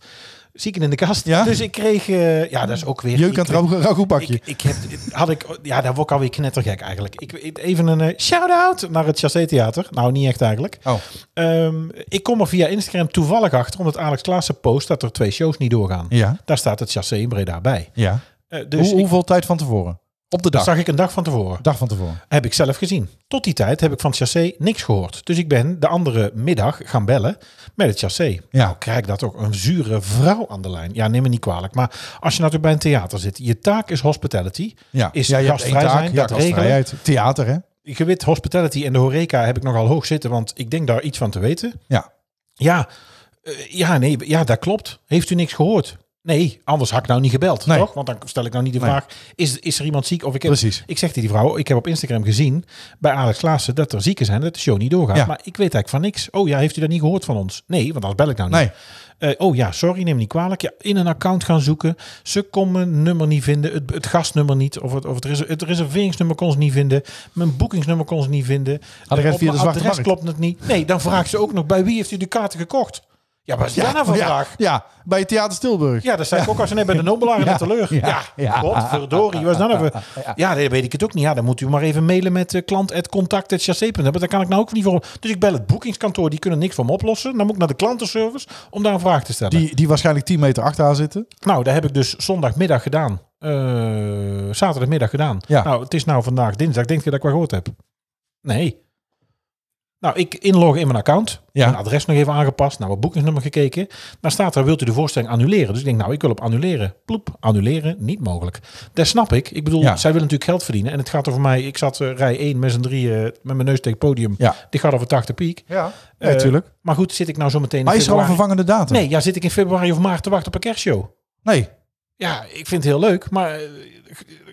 C: Zieken in de kast.
B: Ja?
C: Dus ik kreeg, eh, ja, dat is ook weer.
B: jeuk
C: ik-
B: aan het rauw- rauwgoedpakje.
C: ik, ik heb, had ik, ja, daar word ik alweer knettergek eigenlijk. Ik, ik- even een eh, shout-out naar het Chassé Theater. Nou, niet echt eigenlijk.
B: Oh,
C: Ehm, ik kom er via Instagram toevallig achter, omdat Alex Klaassen post dat er twee shows niet doorgaan.
B: ja.
C: Daar staat het Chassé in Breda bij.
B: ja.
C: Eh, dus
B: Hoe,
C: ik-
B: hoeveel tijd van tevoren? Op de
C: dat
B: dag.
C: zag ik een dag van tevoren.
B: Dag van tevoren.
C: Heb ik zelf gezien. Tot die tijd heb ik van het chassé niks gehoord. Dus ik ben de andere middag gaan bellen met het chassé.
B: Ja.
C: Krijg ik dat ook een zure vrouw aan de lijn? Ja, neem me niet kwalijk. Maar als je natuurlijk bij een theater zit, je taak is hospitality.
B: Ja,
C: Is
B: ja, je hebt één
C: gastvrij
B: taak.
C: zijn,
B: Ja,
C: dat regelen.
B: gastvrijheid. Theater, hè?
C: Gewit hospitality en de horeca heb ik nogal hoog zitten, want ik denk daar iets van te weten.
B: Ja.
C: Ja, Eh, ja, nee, ja, dat klopt. Heeft u niks gehoord? Nee, anders had ik nou niet gebeld,
B: Nee.
C: toch? Want dan stel ik nou niet de
B: Nee.
C: vraag, is, is er iemand ziek? Of ik heb,
B: Precies.
C: Ik zeg tegen die vrouw, ik heb op Instagram gezien bij Alex Klaassen dat er zieken zijn, dat de show niet doorgaat.
B: Ja.
C: Maar ik weet eigenlijk van niks. Oh ja, heeft u dat niet gehoord van ons? Nee, want anders bel ik nou niet.
B: Nee.
C: Eh, oh ja, sorry, neem me niet kwalijk. Ja, in een account gaan zoeken. Ze kon mijn nummer niet vinden. Het, het gastnummer niet. Of, het, of het, reser- het reserveringsnummer kon ze niet vinden. Mijn boekingsnummer kon ze niet vinden.
B: Adres
C: Eh,
B: via de
C: op mijn
B: zwarte
C: adres
B: markt.
C: klopt het niet. Nee, dan vraagt ze ook nog bij wie heeft u de kaarten gekocht? Ja, wat is daar nou voor
B: ja,
C: vraag?
B: Ja, bij het Theater Stilburg.
C: Ja, dat zei ik ook als nee, bij de Nobelaar en
B: Ja,
C: teleur.
B: ja,
C: Ja,
B: ja.
C: godverdorie. Was dat nou even? Ja, nee, weet ik het ook niet. Ja, dan moet u maar even mailen met eh, klant@contact@chasset.nl. Maar Daar kan ik nou ook niet voor. Dus ik bel het boekingskantoor. Die kunnen niks voor me oplossen. Dan moet ik naar de klantenservice om daar een vraag te stellen.
B: Die, die waarschijnlijk 10 meter achter haar zitten.
C: Nou, dat heb ik dus zondagmiddag gedaan. Eh, zaterdagmiddag gedaan.
B: Ja.
C: Nou, het is nou vandaag dinsdag. Denk je dat ik wat gehoord heb? Nee. Nou, ik inlog in mijn account.
B: Ja.
C: Mijn adres nog even aangepast. Naar mijn boekingsnummer gekeken. Dan staat er, wilt u de voorstelling annuleren? Dus ik denk, nou, ik wil op annuleren. Ploep, annuleren, niet mogelijk. Dat snap ik. Ik bedoel,
B: Ja.
C: zij willen natuurlijk geld verdienen. En het gaat over mij. Ik zat eh, rij 1 met z'n drieën eh, met mijn neus tegen het podium.
B: Ja.
C: Dit gaat over 80 piek.
B: Ja,
C: Eh,
B: natuurlijk.
C: Maar goed, zit ik nou zo meteen in
B: maar is er al een
C: februari-
B: vervangende datum?
C: Nee, ja, zit ik in februari of maart te wachten op een kerstshow.
B: Nee.
C: Ja, ik vind het heel leuk, maar eh,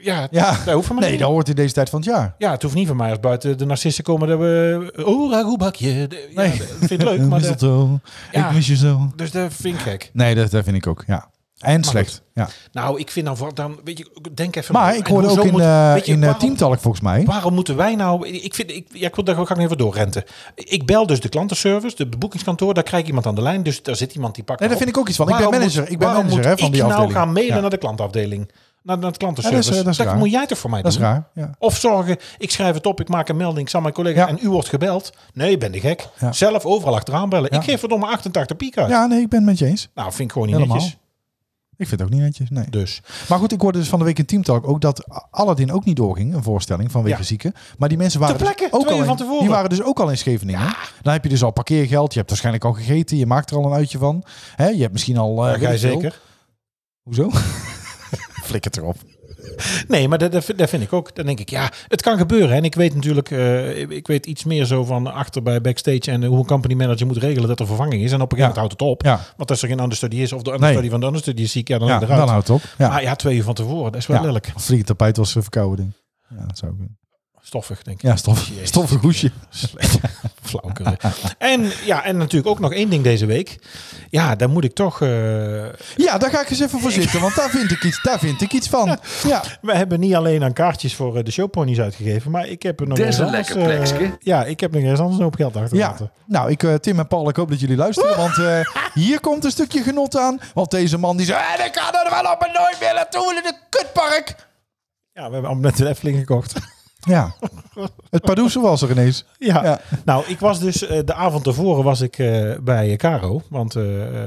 C: ja,
B: Ja.
C: dat hoeft van mij
B: Nee,
C: niet.
B: dat hoort in deze tijd van het jaar.
C: Ja, het hoeft niet van mij als buiten de narcisten komen dat we... Oh, ragoebakje. De- Ja,
B: Nee.
C: dat vind ik leuk, maar... dat-
B: Mistletoe,
C: Ja.
B: Ik mis je zo.
C: dus dat vind ik gek.
B: Nee, dat, dat vind ik ook, ja. En slecht, ja.
C: Nou, ik vind dan... voor- dan weet je, denk even...
B: Maar
C: na.
B: ik
C: En
B: hoorde
C: hoezo
B: ook in,
C: moet-
B: eh
C: weet je,
B: in eh,
C: waarom-
B: Teamtalk volgens mij.
C: Waarom moeten wij nou... Ik vind, ik, ja, ik wil daar ga ik nog even doorrenten. Ik bel dus de klantenservice, de boekingskantoor. Daar krijg ik iemand aan de lijn. Dus daar zit iemand die pakt
B: Nee, daar
C: op.
B: vind ik ook iets van. Ik ben
C: Waarom
B: manager,
C: moet-
B: ik ben
C: waarom
B: manager
C: moet
B: hè, van
C: ik
B: die
C: nou
B: afdeling.
C: gaan mailen
B: Ja.
C: naar de klantafdeling. Naar, naar de
B: Ja,
C: klantenservice.
B: dat is, eh, dat is raar.
C: moet jij toch voor mij doen?
B: Dat is raar, ja.
C: Of zorgen, ik schrijf het op, ik maak een melding, ik zal mijn collega
B: Ja.
C: en u wordt gebeld. Nee, je bent de gek.
B: Ja.
C: Zelf overal achteraan bellen.
B: Ja.
C: Ik geef verdomme 88 piek uit.
B: Ja, nee, ik ben het met je eens.
C: Nou, vind ik gewoon niet
B: Helemaal.
C: netjes.
B: Ik vind het ook niet netjes, nee.
C: Dus,
B: Maar goed, ik hoorde dus van de week in Teamtalk ook dat Aladdin ook niet doorging, een voorstelling vanwege
C: Ja.
B: zieken. Maar die mensen waren
C: Ter plekke,
B: dus ook
C: twee
B: al
C: uur
B: in-
C: van tevoren.
B: Die waren dus ook al in Scheveningen. Dan heb je dus al parkeergeld, je hebt waarschijnlijk al gegeten, je maakt er al een uitje van. Hè, je hebt misschien al. eh,
C: ja,
B: weet
C: jij
B: ik veel.
C: zeker?
B: Hoezo? Flikker erop.
C: Nee, maar dat, dat, vind- dat vind ik ook. Dan denk ik, ja, het kan gebeuren. En ik weet natuurlijk, eh, ik weet iets meer zo van achter bij backstage en hoe een company manager moet regelen dat er vervanging is. En op een gegeven moment houdt het op.
B: Ja,
C: Want als er geen understudy is of de understudy van de understudy is ziek, ja, dan
B: ja
C: ligt het
B: dan
C: eruit.
B: houdt het op. Ja.
C: Maar ja, twee uur van tevoren, dat is wel
B: Ja.
C: lelijk.
B: Als vliegend tapijt was een verkouden ding. Ja, dat zou kunnen.
C: Stoffig, denk ik.
B: Ja, stof,
C: Jezus.
B: stoffig hoesje.
C: Slecht. Flauwekul. En, ja, en natuurlijk ook nog één ding deze week. Ja, daar moet ik toch... eh,
B: Ja, daar ga ik eens even voor zitten, want daar vind ik iets, daar vind ik iets van. Ja,
C: we hebben niet alleen aan kaartjes voor eh, de showponies uitgegeven, maar ik heb er nog
A: Des
C: eens
A: een
C: anders,
A: lekker
C: eh,
A: plekske.
C: ja, ik heb nog eens anders een hoop geld
B: ja.
C: achtergelaten.
B: Nou, ik, eh, Tim en Paul, ik hoop dat jullie luisteren, want eh, hier komt een stukje genot aan. Want deze man die zei, "Eh, ik kan er wel op en nooit meer naartoe in het kutpark.
C: Ja, we hebben al net de Efteling gekocht.
B: Ja, het Pardoes was er ineens.
C: Ja.
B: Ja.
C: nou, ik was dus eh, de avond tevoren was ik eh, bij eh, Caro, want eh,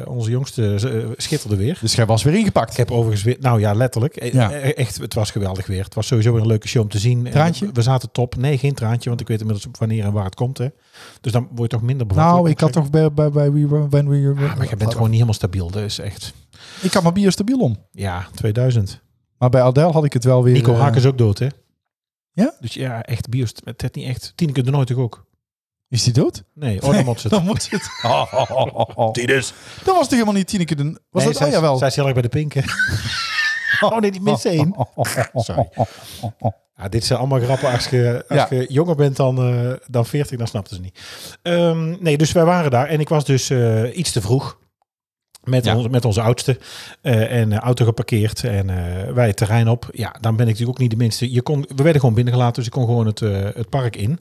C: onze jongste eh, schitterde weer.
B: Dus jij was weer ingepakt.
C: Ik heb overigens weer, nou ja, letterlijk. E-
B: Ja.
C: e- Echt, het was geweldig weer. Het was sowieso weer een leuke show om te zien. En
B: Traantje?
C: We zaten top. Nee, geen traantje, want ik weet inmiddels wanneer en waar het komt. Hè. Dus dan word je toch minder bevattelijk,
B: Nou, ik had
C: moet
B: toch bij, bij, bij We Were... When we were
C: zeggen. Ah, maar je bent gewoon niet helemaal stabiel. Dat is echt,
B: Ik had mijn bier stabiel om.
C: ja, 2000.
B: Maar bij Adele had ik het wel weer...
C: Nico
B: eh,
C: Haak is ook dood, hè?
B: Ja?
C: Dus ja, echt, bios, het heeft niet echt. Tineke de Nooit toch ook?
B: Is die dood?
C: Nee, Ornemot zit.
B: Dan moet het. Oh, oh, oh, oh. Dat was toch helemaal niet Tineke de... Was
C: nee,
B: dat?
C: zij,
B: Oh,
C: is-
B: jawel.
C: Zij is heel erg bij de pinken. oh nee, die mist één. Sorry. Ja, dit zijn allemaal grappen. Als je, als
B: Ja.
C: je jonger bent dan, eh, dan 40, dan snapten ze niet. Ehm, nee, dus wij waren daar en ik was dus eh, iets te vroeg. Met,
B: Ja.
C: ons, met onze oudste. eh, en eh, auto geparkeerd. En eh, wij het terrein op. Ja, dan ben ik natuurlijk ook niet de minste. Je kon, we werden gewoon binnengelaten, dus ik kon gewoon het, eh, het park in.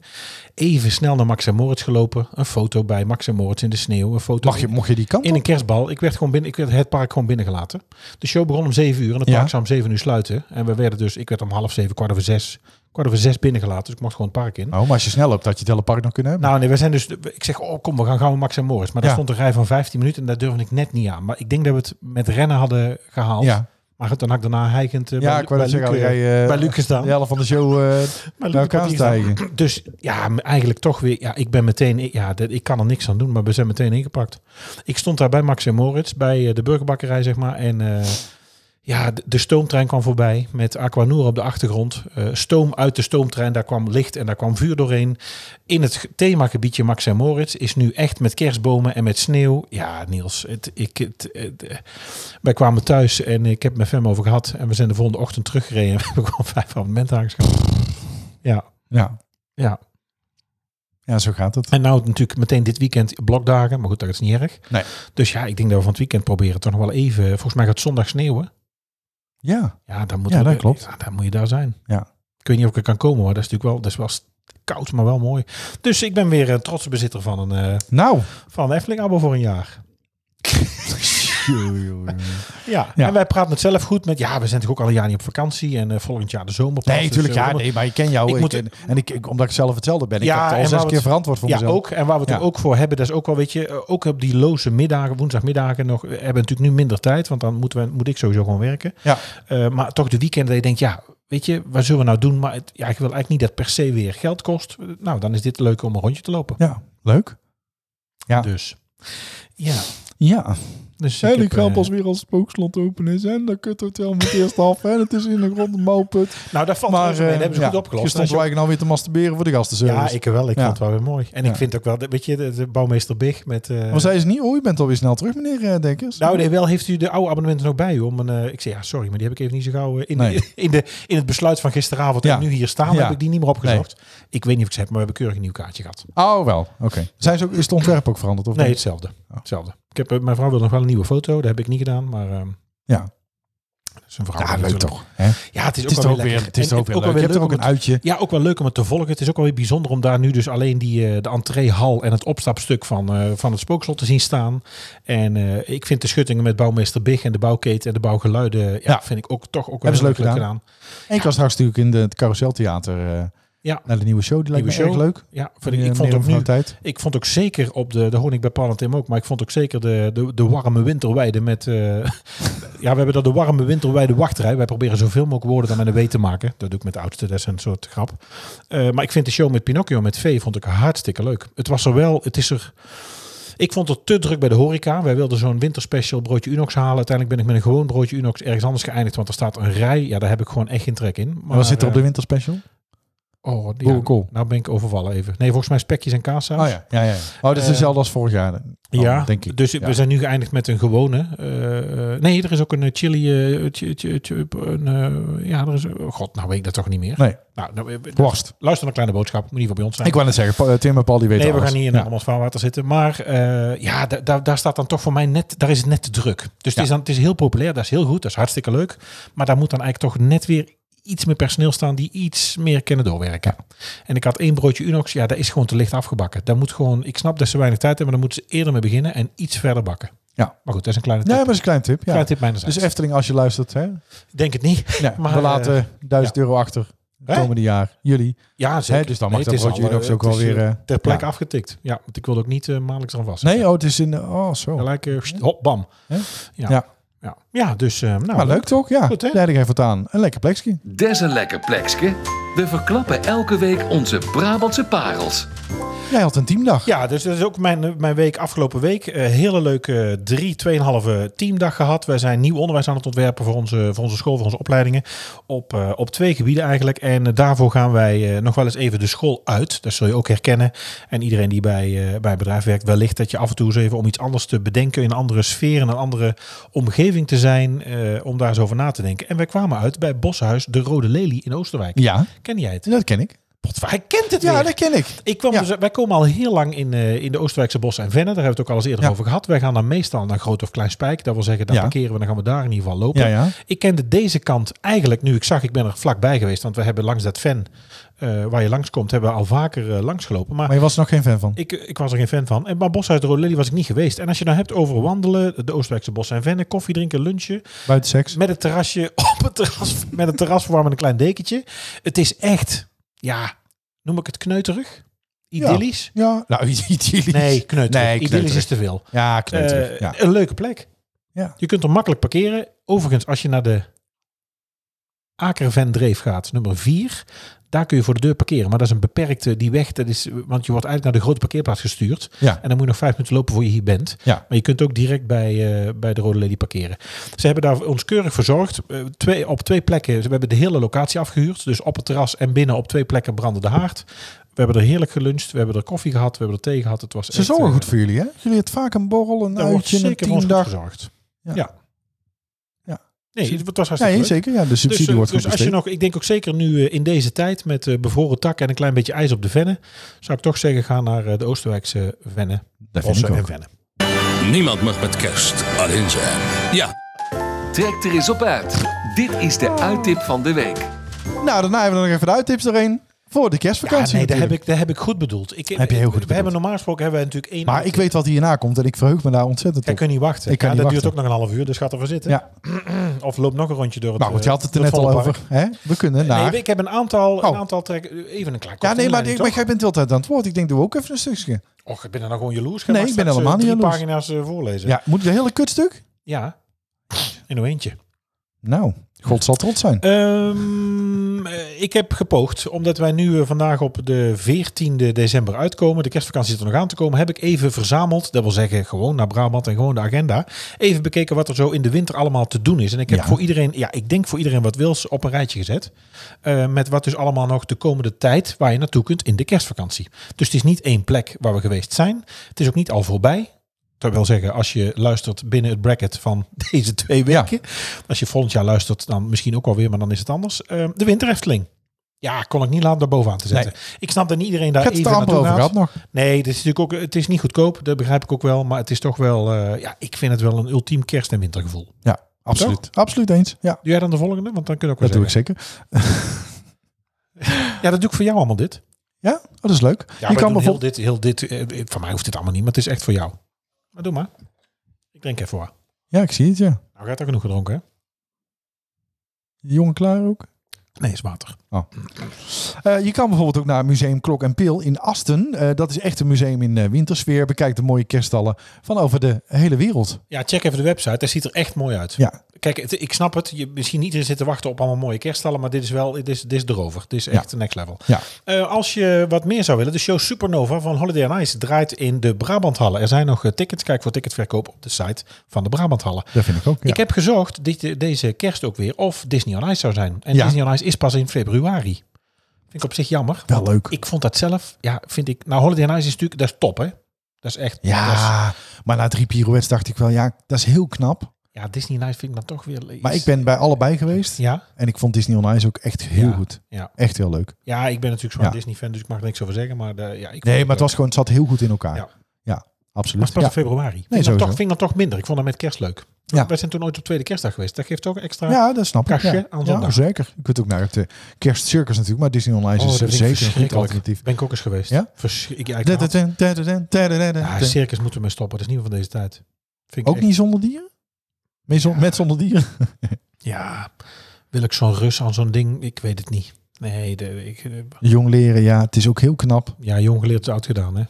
C: Even snel naar Max en Moritz gelopen. Een foto bij Max en Moritz in de sneeuw. Een foto
B: Mag je, mocht je die kant
C: in
B: op?
C: een kerstbal. Ik werd gewoon binnen, ik werd het park gewoon binnengelaten. De show begon om zeven uur en het
B: Ja.
C: park zou om zeven uur sluiten. En we werden dus, ik werd om half zeven, kwart over zes, kwart over zes binnengelaten. Dus ik mocht gewoon het park in.
B: Oh, maar als je snel loopt, had je het hele park nog kunnen hebben.
C: Nou nee, we zijn dus, ik zeg, oh kom, we gaan gauw naar Max en Morris. Maar daar
B: Ja.
C: stond een rij van 15 minuten en daar durfde ik net niet aan. Maar ik denk dat we het met rennen hadden gehaald.
B: ja,
C: Maar goed, dan had ik daarna heikend eh,
B: ja
C: bij,
B: ik wou dat
C: bij,
B: zeggen.
C: Luc,
B: had
C: eh,
B: jij, eh,
C: bij Luc gestaan.
B: De helft van de show eh
C: Maar
B: naar
C: Luc de
B: elkaar
C: Portier staan.
B: stijgen.
C: Dus ja, m- eigenlijk toch weer. Ja, ik ben meteen. Ja, dat- ik kan er niks aan doen, maar we zijn meteen ingepakt. Ik stond daar bij Max en Moritz, bij eh, de burgerbakkerij, zeg maar. En eh, Ja, de, de stoomtrein kwam voorbij met Aquanura op de achtergrond. Eh, stoom uit de stoomtrein, daar kwam licht en daar kwam vuur doorheen. In het ge- themagebiedje Max en Moritz is nu echt met kerstbomen en met sneeuw. Ja, Niels, het, ik, het, het, eh, wij kwamen thuis en ik heb het met Fem over gehad. En we zijn de volgende ochtend teruggereden en we hebben gewoon vijf abonnementen aangeschaft. Ja,
B: Ja.
C: ja.
B: ja, zo gaat het.
C: En nou natuurlijk meteen dit weekend blokdagen, maar goed, dat is niet erg.
B: Nee.
C: Dus ja, ik denk dat we van het weekend proberen toch nog wel even. Volgens mij gaat zondag sneeuwen.
B: Ja,
C: Ja, dan moet,
B: Ja,
C: we-
B: dat klopt.
C: Ja, dan moet je daar zijn.
B: Ja.
C: Ik weet niet of ik er kan komen, maar dat is natuurlijk wel, dat is wel st- koud, maar wel mooi. Dus ik ben weer een trotse bezitter van een, eh,
B: nou.
C: van een Efteling-abo voor een jaar. Ja.
B: Ja.
C: en wij praten het zelf goed met, ja, we zijn natuurlijk ook al een jaar niet op vakantie en eh, volgend jaar de zomer. pas,
B: Nee,
C: dus,
B: tuurlijk.
C: eh,
B: Ja,
C: we-
B: nee, maar ik ken jou.
C: Ik
B: Ik
C: moet-
B: ken- en ik, ik- omdat ik zelf hetzelfde ben. Ik
C: Ja,
B: heb het
C: en
B: al
C: waar
B: zes
C: we
B: keer
C: het-
B: verantwoord voor
C: ja,
B: mezelf.
C: ook. En waar we het
B: Ja.
C: er ook voor hebben, dat is ook wel, weet je, eh, ook op die loze middagen, woensdagmiddagen nog, eh, hebben we natuurlijk nu minder tijd, want dan moeten we, moet ik sowieso gewoon werken.
B: Ja.
C: Eh, maar toch de weekenden, dat je denkt, ja, weet je, wat zullen we nou doen? Maar het, ja, ik wil eigenlijk niet dat het per se weer geld kost. Eh, Nou, dan is dit leuk om een rondje te lopen.
B: Ja, leuk. Ja.
C: Dus, ja.
B: Ja.
C: Dus
B: En
C: ik
B: ik
C: heb,
B: ga
C: eh,
B: pas weer als spookslot open is. En dan kut hotel met eerst af. En het is in de grond een mouwput.
C: nou, daar valt
B: Maar
C: maar, mee. Dat
B: eh,
C: hebben ze
B: ja,
C: goed opgelost.
B: Gisteren
C: Dat is
B: stond ik nou weer te masturberen voor de
C: ook-
B: gastenservice.
C: ja, ik wel. Ik
B: Ja.
C: vond het wel weer mooi. En ik
B: Ja.
C: vind ook wel, dat- weet je, de, de bouwmeester Big met... eh,
B: Maar zei ze niet, oh, je bent alweer snel terug, meneer eh, Dekkers.
C: Nou, nee, wel heeft u de oude abonnementen nog bij u. Om een, eh, ik zei, ja, sorry, maar die heb ik even niet zo gauw. eh, in,
B: Nee.
C: de, in, de, in het besluit van gisteravond
B: Ja.
C: en nu hier staan,
B: Ja.
C: heb ik die niet meer opgezocht. Ik weet niet of ik ze heb, maar we hebben keurig een nieuw kaartje gehad.
B: Oh, wel. Oké. Zijn ze ook, is het ontwerp ook veranderd? Of
C: Nee,
B: niet?
C: hetzelfde. hetzelfde. Ik heb, eh, mijn vrouw wil nog wel een nieuwe foto, dat heb ik niet gedaan, maar... ehm,
B: Ja.
C: dat is een vrouw
B: Ja, leuk
C: natuurlijk.
B: toch? hè? Het
C: Ja, het is,
B: is
C: ook
B: toch
C: wel
B: ook weer,
C: lekker.
B: het is
C: En
B: toch ook weer leuk.
C: wel
B: Je hebt er ook
C: om
B: een uitje.
C: ja, ook wel leuk om het te volgen. Het is ook wel weer bijzonder om daar nu dus alleen die, eh de entreehal en het opstapstuk van, eh, van het spookslot te zien staan. En eh, ik vind de schuttingen met bouwmeester Big en de bouwketen en de bouwgeluiden, ja,
B: Ja.
C: vind ik ook toch ook wel
B: Hebben ze
C: heel
B: leuk
C: erg
B: gedaan. En ik was straks natuurlijk in de- het Carouseltheater eh,
C: Ja.
B: naar de nieuwe show. Die lijkt
C: Nieuwe
B: me erg
C: show.
B: leuk.
C: Ja, vind ik,
B: Die,
C: ik
B: eh,
C: vond
B: meneer en
C: ook
B: mevrouw
C: nu,
B: Tijd.
C: ik vond ook zeker op de, de honing bij Paul en Tim ook, maar ik vond ook zeker de, de, de warme winterweide met, eh, ja, we hebben dat de warme winterweide wachtrij. Wij proberen zoveel mogelijk woorden dan met een W te maken. Dat doe ik met de oudste, dat is een soort grap. Eh, maar ik vind de show met Pinocchio met V vond ik hartstikke leuk. Het was er wel, het is er... Ik vond het te druk bij de horeca. Wij wilden zo'n winterspecial broodje Unox halen. Uiteindelijk ben ik met een gewoon broodje Unox ergens anders geëindigd. Want er staat een rij. Ja, daar heb ik gewoon echt geen trek in.
B: Maar, wat zit er op de winterspecial?
C: eh, Oh, ja,
B: Boerenkool.
C: nou ben ik overvallen even. Nee, volgens mij spekjes en kaassaus.
B: Oh ja, ja, ja. Oh, dat is
C: Eh,
B: dezelfde als vorig jaar. dan,
C: Ja,
B: denk ik.
C: dus
B: Ja.
C: we zijn nu geëindigd met een gewone. eh, eh, nee, er is ook een eh, chili. eh, chi- chi- chi- een, eh, ja, er is. oh God, nou weet ik dat toch niet meer.
B: Nee,
C: Nou, nou, eh,
B: worst.
C: luister naar kleine boodschap. Moet niet voor bij ons zijn.
B: Ik wou net zeggen, Pa- eh, Tim en Paul die weten
C: nee, we
B: alles.
C: gaan niet in
B: Ja.
C: een allemaal vaarwater zitten. Maar eh, ja, da- da- daar staat dan toch voor mij net. Daar is het net te druk. Dus het,
B: Ja.
C: is dan, het is heel populair. Dat is heel goed. Dat is hartstikke leuk. Maar daar moet dan eigenlijk toch net weer iets meer personeel staan die iets meer kunnen doorwerken. En ik had één broodje Unox. Ja, dat is gewoon te licht afgebakken. Daar moet gewoon. Ik snap dat ze weinig tijd hebben, maar dan moeten ze eerder mee beginnen en iets verder bakken.
B: Ja.
C: Maar goed, dat is een kleine tip.
B: Nee, maar dat is een klein tip. Ja.
C: Kleine tip mijnerzijds.
B: dus Efteling, als je luistert, hè?
C: Ik denk het niet.
B: Ja,
C: Maar, eh,
B: we laten 1000 euro achter het
C: Hè?
B: komende jaar. Jullie.
C: Ja,
B: Hè?
C: zeker.
B: Dus dan
C: Nee,
B: mag
C: het
B: dat
C: is
B: broodje
C: al, eh,
B: Unox ook
C: het
B: wel
C: is,
B: weer...
C: eh,
B: eh,
C: ter plekke
B: ja.
C: afgetikt. Ja, want ik wilde ook niet eh, maandelijks aan vast.
B: Nee, oh, het is in... de- Oh, zo.
C: Gelijk, eh, pst, hop, bam.
B: Hè?
C: Ja.
B: Ja.
C: Ja. ja. dus, eh, nou,
B: Maar Ah, leuk toch? Ja,
C: Goed, hè?
B: daar heb ik even wat aan. Een lekker plekje.
A: Des een lekker plekske. We verklappen elke week onze Brabantse parels.
B: Jij had een teamdag.
C: Ja, dus dat is ook mijn, eh, mijn week afgelopen week. Eh, hele leuke drie, tweeënhalve teamdag gehad. Wij zijn nieuw onderwijs aan het ontwerpen voor onze, voor onze school, voor onze opleidingen. Op, eh, op twee gebieden eigenlijk. En eh, daarvoor gaan wij eh, nog wel eens even de school uit. Dat zul je ook herkennen. En iedereen die bij, eh, bij een bedrijf werkt, wellicht dat je af en toe eens even om iets anders te bedenken. In een andere sfeer, in een andere omgeving te zijn. eh, om daar eens over na te denken. En wij kwamen uit bij Boshuis De Rode Lelie in Oosterwijk.
B: Ja,
C: Ken jij het?
B: dat ken ik.
C: Pot, hij kent het
B: Ja,
C: weer.
B: dat ken ik.
C: Ik kwam
B: Ja.
C: dus, wij komen al heel lang in, eh, in de Oostenrijkse bossen en vennen. Daar hebben we het ook al eens eerder
B: Ja.
C: over gehad. Wij gaan dan meestal naar Groot of Klein Spijk. Dat wil zeggen, dan
B: Ja.
C: parkeren we dan gaan we daar in ieder geval lopen.
B: Ja, ja.
C: Ik kende deze kant eigenlijk, nu ik zag, ik ben er vlakbij geweest. Want we hebben langs dat ven eh, waar je langskomt, hebben we al vaker eh, langsgelopen. Maar
B: Maar je was er nog geen fan van.
C: ik, ik was er geen fan van. En maar Boshuis de Rode Lelie was ik niet geweest. En als je nou hebt over wandelen, de Oostenrijkse bossen en vennen, koffie drinken, lunchen.
B: Buiten seks.
C: Met het terrasje op het terras, met het terrasverwarm en een klein dekentje. Het is echt, ja, noem ik het kneuterig? Idyllisch?
B: Ja, nou, idyllisch.
C: Nee, kneuterig.
B: Nee,
C: Idyllisch
B: kneuterig.
C: is te veel.
B: Ja, kneuterig.
C: Eh,
B: ja.
C: Een leuke plek.
B: Ja.
C: Je kunt er makkelijk parkeren. Overigens, als je naar de Akerven Dreefgaat, nummer 4. Daar kun je voor de deur parkeren. Maar dat is een beperkte, die weg, dat is, want je wordt eigenlijk naar de grote parkeerplaats gestuurd.
B: Ja.
C: En dan moet je nog vijf minuten lopen voor je hier bent.
B: Ja.
C: Maar je kunt ook direct bij, eh, bij de Rode Lady parkeren. Ze hebben daar ons keurig verzorgd. Eh, twee, op twee plekken. We hebben de hele locatie afgehuurd. Dus op het terras en binnen op twee plekken brandde de haard. We hebben er heerlijk geluncht. We hebben er koffie gehad. We hebben er thee gehad. Het was
B: Ze
C: echt,
B: zorgen
C: eh,
B: goed voor jullie, hè? Jullie het vaak een borrel, een
C: daar wordt
B: uitje, een
C: zeker voor ons
B: tien
C: goed
B: dag.
C: verzorgd.
B: Ja.
C: Ja.
B: Ja.
C: Nee, het was
B: Ja,
C: hartstikke
B: nee,
C: leuk.
B: zeker. Ja, de subsidie
C: dus, eh,
B: wordt goed
C: dus als je
B: besteed.
C: nog, ik denk ook zeker nu eh, in deze tijd met eh, bevroren takken en een klein beetje ijs op de vennen, zou ik toch zeggen ga naar eh, de Oostenrijkse vennen.
B: Dat
C: Bossen
B: vind ik
C: en
B: ook.
C: vennen.
D: Niemand mag met kerst alleen zijn. Ja,
A: Trek er eens op uit. Dit is de uittip van de week.
B: Nou, daarna hebben we nog even de uittips doorheen voor de kerstvakantie.
C: Ja, Ah, nee, dat heb,
B: natuurlijk.
C: ik, dat heb ik goed bedoeld. Ik, eh,
B: Heb je heel goed
C: we
B: bedoeld.
C: Hebben, normaal gesproken hebben wij natuurlijk één.
B: Maar ik weet wat hierna komt en ik verheug me daar ontzettend
C: Jij
B: op.
C: kunt niet wachten.
B: Ik kan
C: ja,
B: niet
C: dat
B: wachten.
C: duurt ook nog een half uur, dus gaat ervoor zitten.
B: Ja,
C: Of loop nog een rondje door het.
B: nou, want je
C: eh,
B: had het er
C: door
B: net al
C: Vondelpark.
B: over. Hè? We kunnen naar...
C: Nee, ik heb een aantal,
B: Oh.
C: een aantal trekken. Even een klein
B: ja, nee, maar, ik,
C: ik
B: maar jij bent de hele tijd aan het woord. Ik denk, doe ook even een stukje.
C: Och, ik ben er nou gewoon jaloers. Ga
B: Nee,
C: maar
B: ik ben
C: straks,
B: helemaal
C: eh,
B: niet
C: drie
B: jaloers.
C: pagina's eh, voorlezen.
B: Ja, moet ik de hele kutstuk?
C: ja. In een eentje.
B: Nou, God zal trots zijn.
C: Ehm, eh, ik heb gepoogd, omdat wij nu eh, vandaag op de 14e december uitkomen. De kerstvakantie zit er nog aan te komen. Heb ik even verzameld, dat wil zeggen gewoon naar Brabant en gewoon de agenda. Even bekeken wat er zo in de winter allemaal te doen is. En ik heb
B: Ja.
C: voor iedereen, ja, ik denk voor iedereen wat wils op een rijtje gezet. Eh, met wat dus allemaal nog de komende tijd waar je naartoe kunt in de kerstvakantie. Dus het is niet één plek waar we geweest zijn. Het is ook niet al voorbij. Dat wil zeggen, als je luistert binnen het bracket van deze twee weken. Als je volgend jaar luistert, dan misschien ook wel weer, maar dan is het anders. Eh, de Winterhefteling. Ja, kon ik niet laten daar bovenaan te zetten. Ik snap dat niet iedereen daar
B: Ik heb het
C: even
B: er amper
C: naartoe
B: over
C: gaat.
B: gehad nog.
C: Nee, het is natuurlijk ook, het is niet goedkoop, dat begrijp ik ook wel. Maar het is toch wel, eh, ja, ik vind het wel een ultiem kerst- en wintergevoel.
B: Ja, absoluut. Absoluut eens. Ja,
C: Doe jij dan de volgende? Want dan kun je ook
B: dat
C: wel
B: doe ik
C: zeggen.
B: zeker.
C: Ja, dat doe ik voor jou allemaal dit.
B: Ja, oh, dat is leuk.
C: Ja,
B: je
C: maar
B: kan
C: doe heel
B: bijvoorbeeld...
C: dit, heel dit. eh, van mij hoeft dit allemaal niet, maar het is echt voor jou. Maar doe maar. Ik drink even wat.
B: Ja, ik zie het, ja.
C: Nou, gaat er genoeg gedronken, hè?
B: Die jongen klaar ook.
C: Nee, is water.
B: Eh, je kan bijvoorbeeld ook naar Museum Klok en Peel in Asten. Eh, dat is echt een museum in eh, wintersfeer. Bekijk de mooie kerststallen van over de hele wereld.
C: Ja, check even de website. Dat ziet er echt mooi uit.
B: Ja,
C: Kijk, het- ik snap het. Je, misschien niet zit te wachten op allemaal mooie kerststallen, maar dit is wel, dit is, dit is erover. Dit is echt next level.
B: Ja.
C: Eh, als je wat meer zou willen, de show Supernova van Holiday on Ice draait in de Brabanthallen. Er zijn nog eh, tickets. Kijk voor ticketverkoop op de site van de Brabanthallen.
B: dat vind ik ook. Ja.
C: Ik heb gezocht dit, eh, deze kerst ook weer of Disney on Ice zou zijn. En
B: Ja.
C: Disney on Ice is pas in februari. Vind ik op zich jammer.
B: Wel
C: want
B: leuk.
C: Ik vond dat zelf, ja, vind ik. Nou, Holiday on Ice is natuurlijk, dat is top, hè? Dat is echt. dat is-
B: Ja, maar na drie pirouettes dacht ik wel, ja, dat is heel knap.
C: ja, Disney on Ice vind ik dan toch weer. iets-
B: Maar ik ben bij allebei geweest.
C: Ja.
B: En ik vond Disney on Ice ook echt heel
C: Ja,
B: goed.
C: ja.
B: Echt heel leuk.
C: Ja, ik ben natuurlijk zo'n
B: Ja.
C: Disney-fan, dus ik mag er niks over zeggen. Maar de, ja, ik
B: Nee, maar het, was gewoon, het zat heel goed in elkaar. Ja,
C: Ja.
B: absoluut.
C: was pas
B: Ja.
C: in februari. Vind,
B: Nee,
C: ik dan
B: sowieso.
C: toch, vind ik dan toch minder. Ik vond dat met kerst leuk.
B: Ja.
C: Wij zijn toen ooit op tweede kerstdag geweest. Dat geeft toch extra...
B: Ja, dat snap ik. Ja.
C: Kastje aan zondag.
B: Ja, zeker. Je kunt ook naar het eh, kerstcircus natuurlijk, maar Disney Online
C: Oh,
B: is
C: dat vind ik
B: zeker een goed
C: verschrikkelijk.
B: alternatief.
C: Ben ik ook eens geweest.
B: Ja?
C: Verschri- ik, ja, ik haat-
B: Tadadun, tadadun, tadadun,
C: Ja,
B: tadadun.
C: Ah, circus moeten we mee stoppen. Dat is niet meer van deze tijd. Vind ik
B: Ook
C: echt-
B: niet zonder dieren? Met, zon- met zonder dieren?
C: Ja, wil ik zo'n rus aan zo'n ding? Ik weet het niet. Nee, de, ik, eh,
B: Jong leren, ja, het is ook heel knap.
C: ja, jong geleerd is oud gedaan, hè?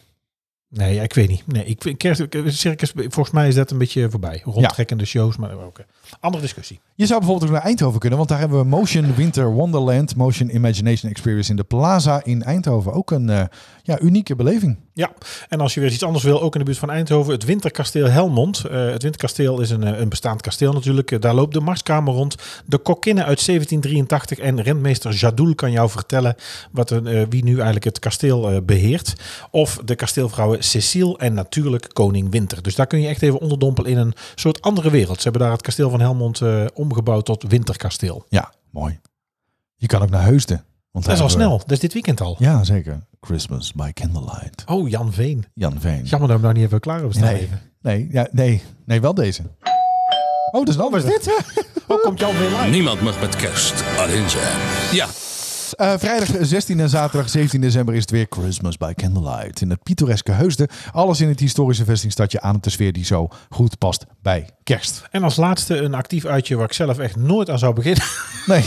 C: Nee, ja, ik weet niet. Nee, ik vind kerst, ik- circus, volgens mij is dat een beetje voorbij. Rondtrekkende shows, maar ook. eh, Andere discussie.
B: Je zou bijvoorbeeld ook naar Eindhoven kunnen, want daar hebben we Motion Winter Wonderland, Motion Imagination Experience in de Plaza in Eindhoven. Ook een eh, ja, unieke beleving.
C: Ja, en als je weer eens iets anders wil, ook in de buurt van Eindhoven, het Winterkasteel Helmond. Eh, het Winterkasteel is een, eh, een bestaand kasteel natuurlijk. Eh, daar loopt de Marskamer rond. De kokkinnen uit 1783 en rentmeester Jadoul kan jou vertellen wat, een, eh, wie nu eigenlijk het kasteel eh, beheert. Of de kasteelvrouwen Cecile en natuurlijk Koning Winter. Dus daar kun je echt even onderdompelen in een soort andere wereld. Ze hebben daar het kasteel van Helmond eh, omgebouwd tot Winterkasteel.
B: Ja, mooi. Je kan ook naar Heusden. Want
C: Dat
B: daar
C: is al
B: hebben
C: snel,
B: we-
C: dat is dit weekend al.
B: Ja, zeker. Christmas by Candlelight.
C: Oh, Jan Veen.
B: Jan Veen.
C: Jammer dat we hem nou niet even klaar hebben staan.
B: Nee,
C: even.
B: nee, ja, nee, nee, wel deze. Oh, dat is een andere.
C: Oh, komt Jan Veen live?
D: niemand mag met kerst alleen zijn. Ja,
B: Eh, vrijdag 16 en zaterdag 17 december is het weer Christmas by Candlelight. In het pittoreske Heusden. Alles in het historische vestingstadje aan op de sfeer die zo goed past bij kerst.
C: En als laatste een actief uitje waar ik zelf echt nooit aan zou beginnen.
B: Nee,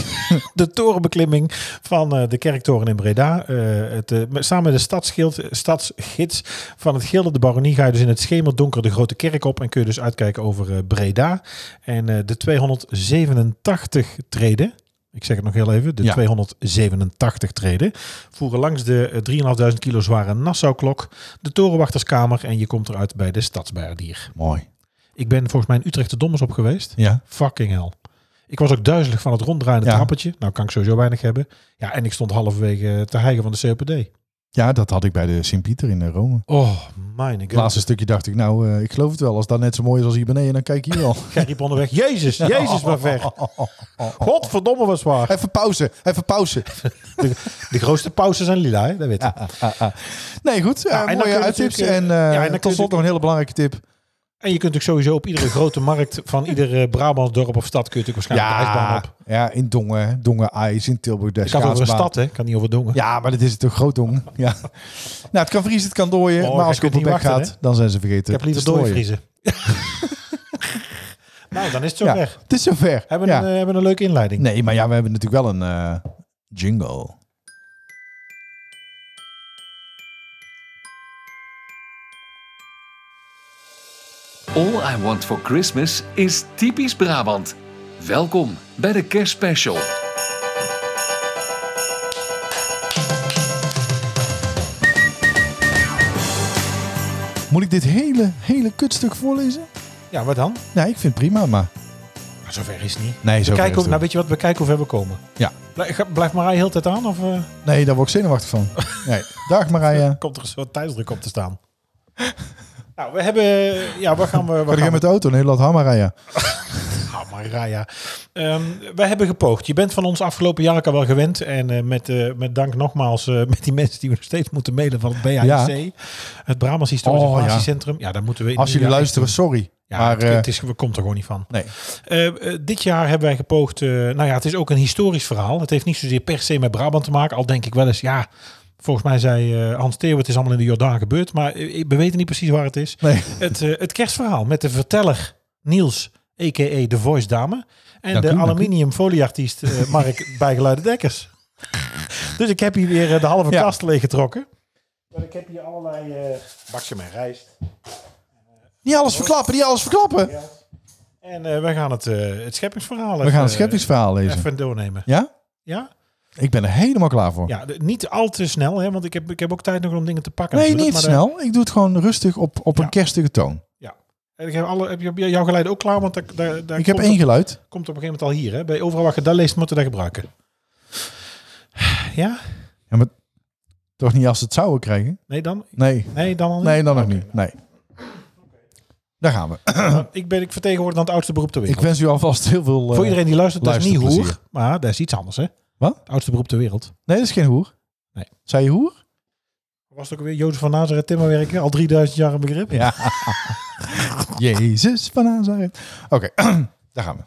C: De torenbeklimming van eh, de kerktoren in Breda. Eh, het, eh, met- samen met de stadsgild, stadsgids van het Gilde de Baronie ga je dus in het schemerdonker de Grote Kerk op. En kun je dus uitkijken over eh, Breda. En eh, de 287 treden. Ik zeg het nog heel even. De
B: Ja.
C: 287 treden. Voeren langs de eh, 3.500 kilo zware Nassau-klok. De Torenwachterskamer. En je komt eruit bij de Stadsbeierdier.
B: Mooi.
C: Ik ben volgens mij in Utrecht de Dommers op geweest.
B: Ja.
C: Fucking hell. Ik was ook duizelig van het ronddraaiende
B: Ja.
C: trappetje. Nou kan ik sowieso weinig hebben. Ja, en ik stond halverwege te hijgen van de COPD.
B: ja, dat had ik bij de Sint-Pieter in eh, Rome.
C: Oh, mijn
B: Het laatste stukje dacht ik, nou, eh, ik geloof het wel. Als dat net zo mooi is als hier beneden, dan kijk je hier wel.
C: Jij riep onderweg, Jezus, Jezus, maar ver. Godverdomme, was waar.
B: Even pauze, even pauze.
C: De, de grootste pauzen zijn lila, hè? dat weet ik.
B: Nee, goed. eh,
C: Ja, Nou, en dan kun
B: mooie
C: je
B: uittips.
C: natuurlijk,
B: En,
C: eh, ja, en
B: eh
C: dan kun
B: tot
C: je
B: slot nog een hele belangrijke tip.
C: En je kunt ook sowieso op iedere grote markt van iedere Brabants dorp of stad... kun je natuurlijk waarschijnlijk de ijsbaan op.
B: ja, in Dongen, Dongen IJs, in Tilburg, de
C: Ik had het over een
B: schaatsbaan.
C: stad, hè? Ik kan niet over Dongen.
B: Ja, maar dit is het toch groot Dongen. Ja. Nou, het kan vriezen, het kan dooien.
C: Oh,
B: maar
C: jij
B: als het op
C: kunt
B: het
C: niet
B: bek
C: wachten,
B: gaat, dan zijn ze vergeten
C: ik heb liever
B: te strooien.
C: doorvriezen. nou, dan is het zo
B: Ja,
C: weg.
B: het is zover.
C: Hebben we
B: ja.
C: een, eh, hebben we een leuke inleiding.
B: nee, maar ja, we hebben natuurlijk wel een eh, jingle.
A: All I Want for Christmas is typisch Brabant. Welkom bij de kerstspecial.
B: Moet ik dit hele, hele kutstuk voorlezen?
C: Ja, wat dan?
B: Nee, ik vind het prima, maar...
C: Maar zover is het niet.
B: Nee, zo ver is
C: We kijken hoe,
B: het
C: nou,
B: ook.
C: weet je wat? We kijken hoe ver we komen.
B: Ja.
C: Blij- ga- Blijft Marij heel de tijd aan? Of eh,
B: Nee, daar word ik zenuwachtig van. Nee. Dag Marije.
C: komt er een soort tijdsdruk op te staan? nou, we hebben... Ja, waar gaan we... Waar
B: Ga
C: gaan
B: jij
C: we-
B: met de auto een hele lot hammer rijden?
C: Nou, Marija. Ehm wij hebben gepoogd. Je bent van ons afgelopen jaar ook al wel gewend. En eh, met, eh, met dank nogmaals eh, met die mensen die we nog steeds moeten mailen van het BHIC.
B: Ja.
C: Het Brabants Historisch
B: Oh, ja.
C: Informatiecentrum. Ja. daar moeten we... in
B: Als
C: een
B: jullie
C: jaar
B: luisteren,
C: echt-
B: sorry.
C: Ja,
B: maar
C: het,
B: eh,
C: het is, we komt er gewoon niet van.
B: nee.
C: Eh, eh, dit jaar hebben wij gepoogd. eh, nou ja, het is ook een historisch verhaal. Het heeft niet zozeer per se met Brabant te maken. Al denk ik wel eens, ja. Volgens mij zei eh, Hans Theo, het is allemaal in de Jordaan gebeurd. Maar eh, we weten niet precies waar het is.
B: nee.
C: Het, eh, het kerstverhaal met de verteller Niels, a.k.a. de Voice Dame. En
B: Dank
C: de
B: u, dank u.
C: aluminium folieartiest eh, Mark Bijgeluide Dekkers. Dus ik heb hier weer eh, de halve
B: Ja.
C: kast leeggetrokken. Maar ik heb hier allerlei... eh bakje met rijst.
B: Niet alles verklappen, niet alles verklappen.
C: En eh, wij gaan het, eh, het scheppingsverhaal eh,
B: We gaan het scheppingsverhaal lezen.
C: even doornemen.
B: Ja?
C: Ja?
B: Ik ben er helemaal klaar voor.
C: Ja, de- niet al te snel, hè, want ik heb, ik heb ook tijd nog om dingen te pakken.
B: Nee,
C: natuurlijk,
B: niet
C: maar eh, de-
B: snel. Ik doe het gewoon rustig op, op
C: Ja.
B: een kerstige toon.
C: En ik heb, alle, heb je jouw geleide ook klaar? Want daar, daar, daar
B: Ik heb
C: komt
B: één geluid.
C: komt op een gegeven moment al hier. Hè? Bij overal waar je dat leest, moeten we dat gebruiken. Ja?
B: Toch niet als ze het zouden krijgen?
C: Nee, dan?
B: Nee.
C: Nee, dan al niet?
B: Nee, dan nog
C: Oké.
B: niet. Nee. Daar gaan we.
C: Nou, ik ben ik vertegenwoordig aan het oudste beroep ter
B: Ik
C: wereld.
B: wens u alvast heel veel... eh,
C: Voor iedereen die luistert, dat is niet
B: luisterplezier.
C: hoer. Maar dat is iets anders, hè?
B: Wat?
C: Het oudste beroep ter wereld.
B: Nee, dat is geen hoer.
C: Nee.
B: Zei je hoer?
C: Was het ook weer Jozef van Nazareth timmerwerken? Al 3000 jaar een begrip.
B: Ja. Jezus van Nazareth. Oké, daar gaan we.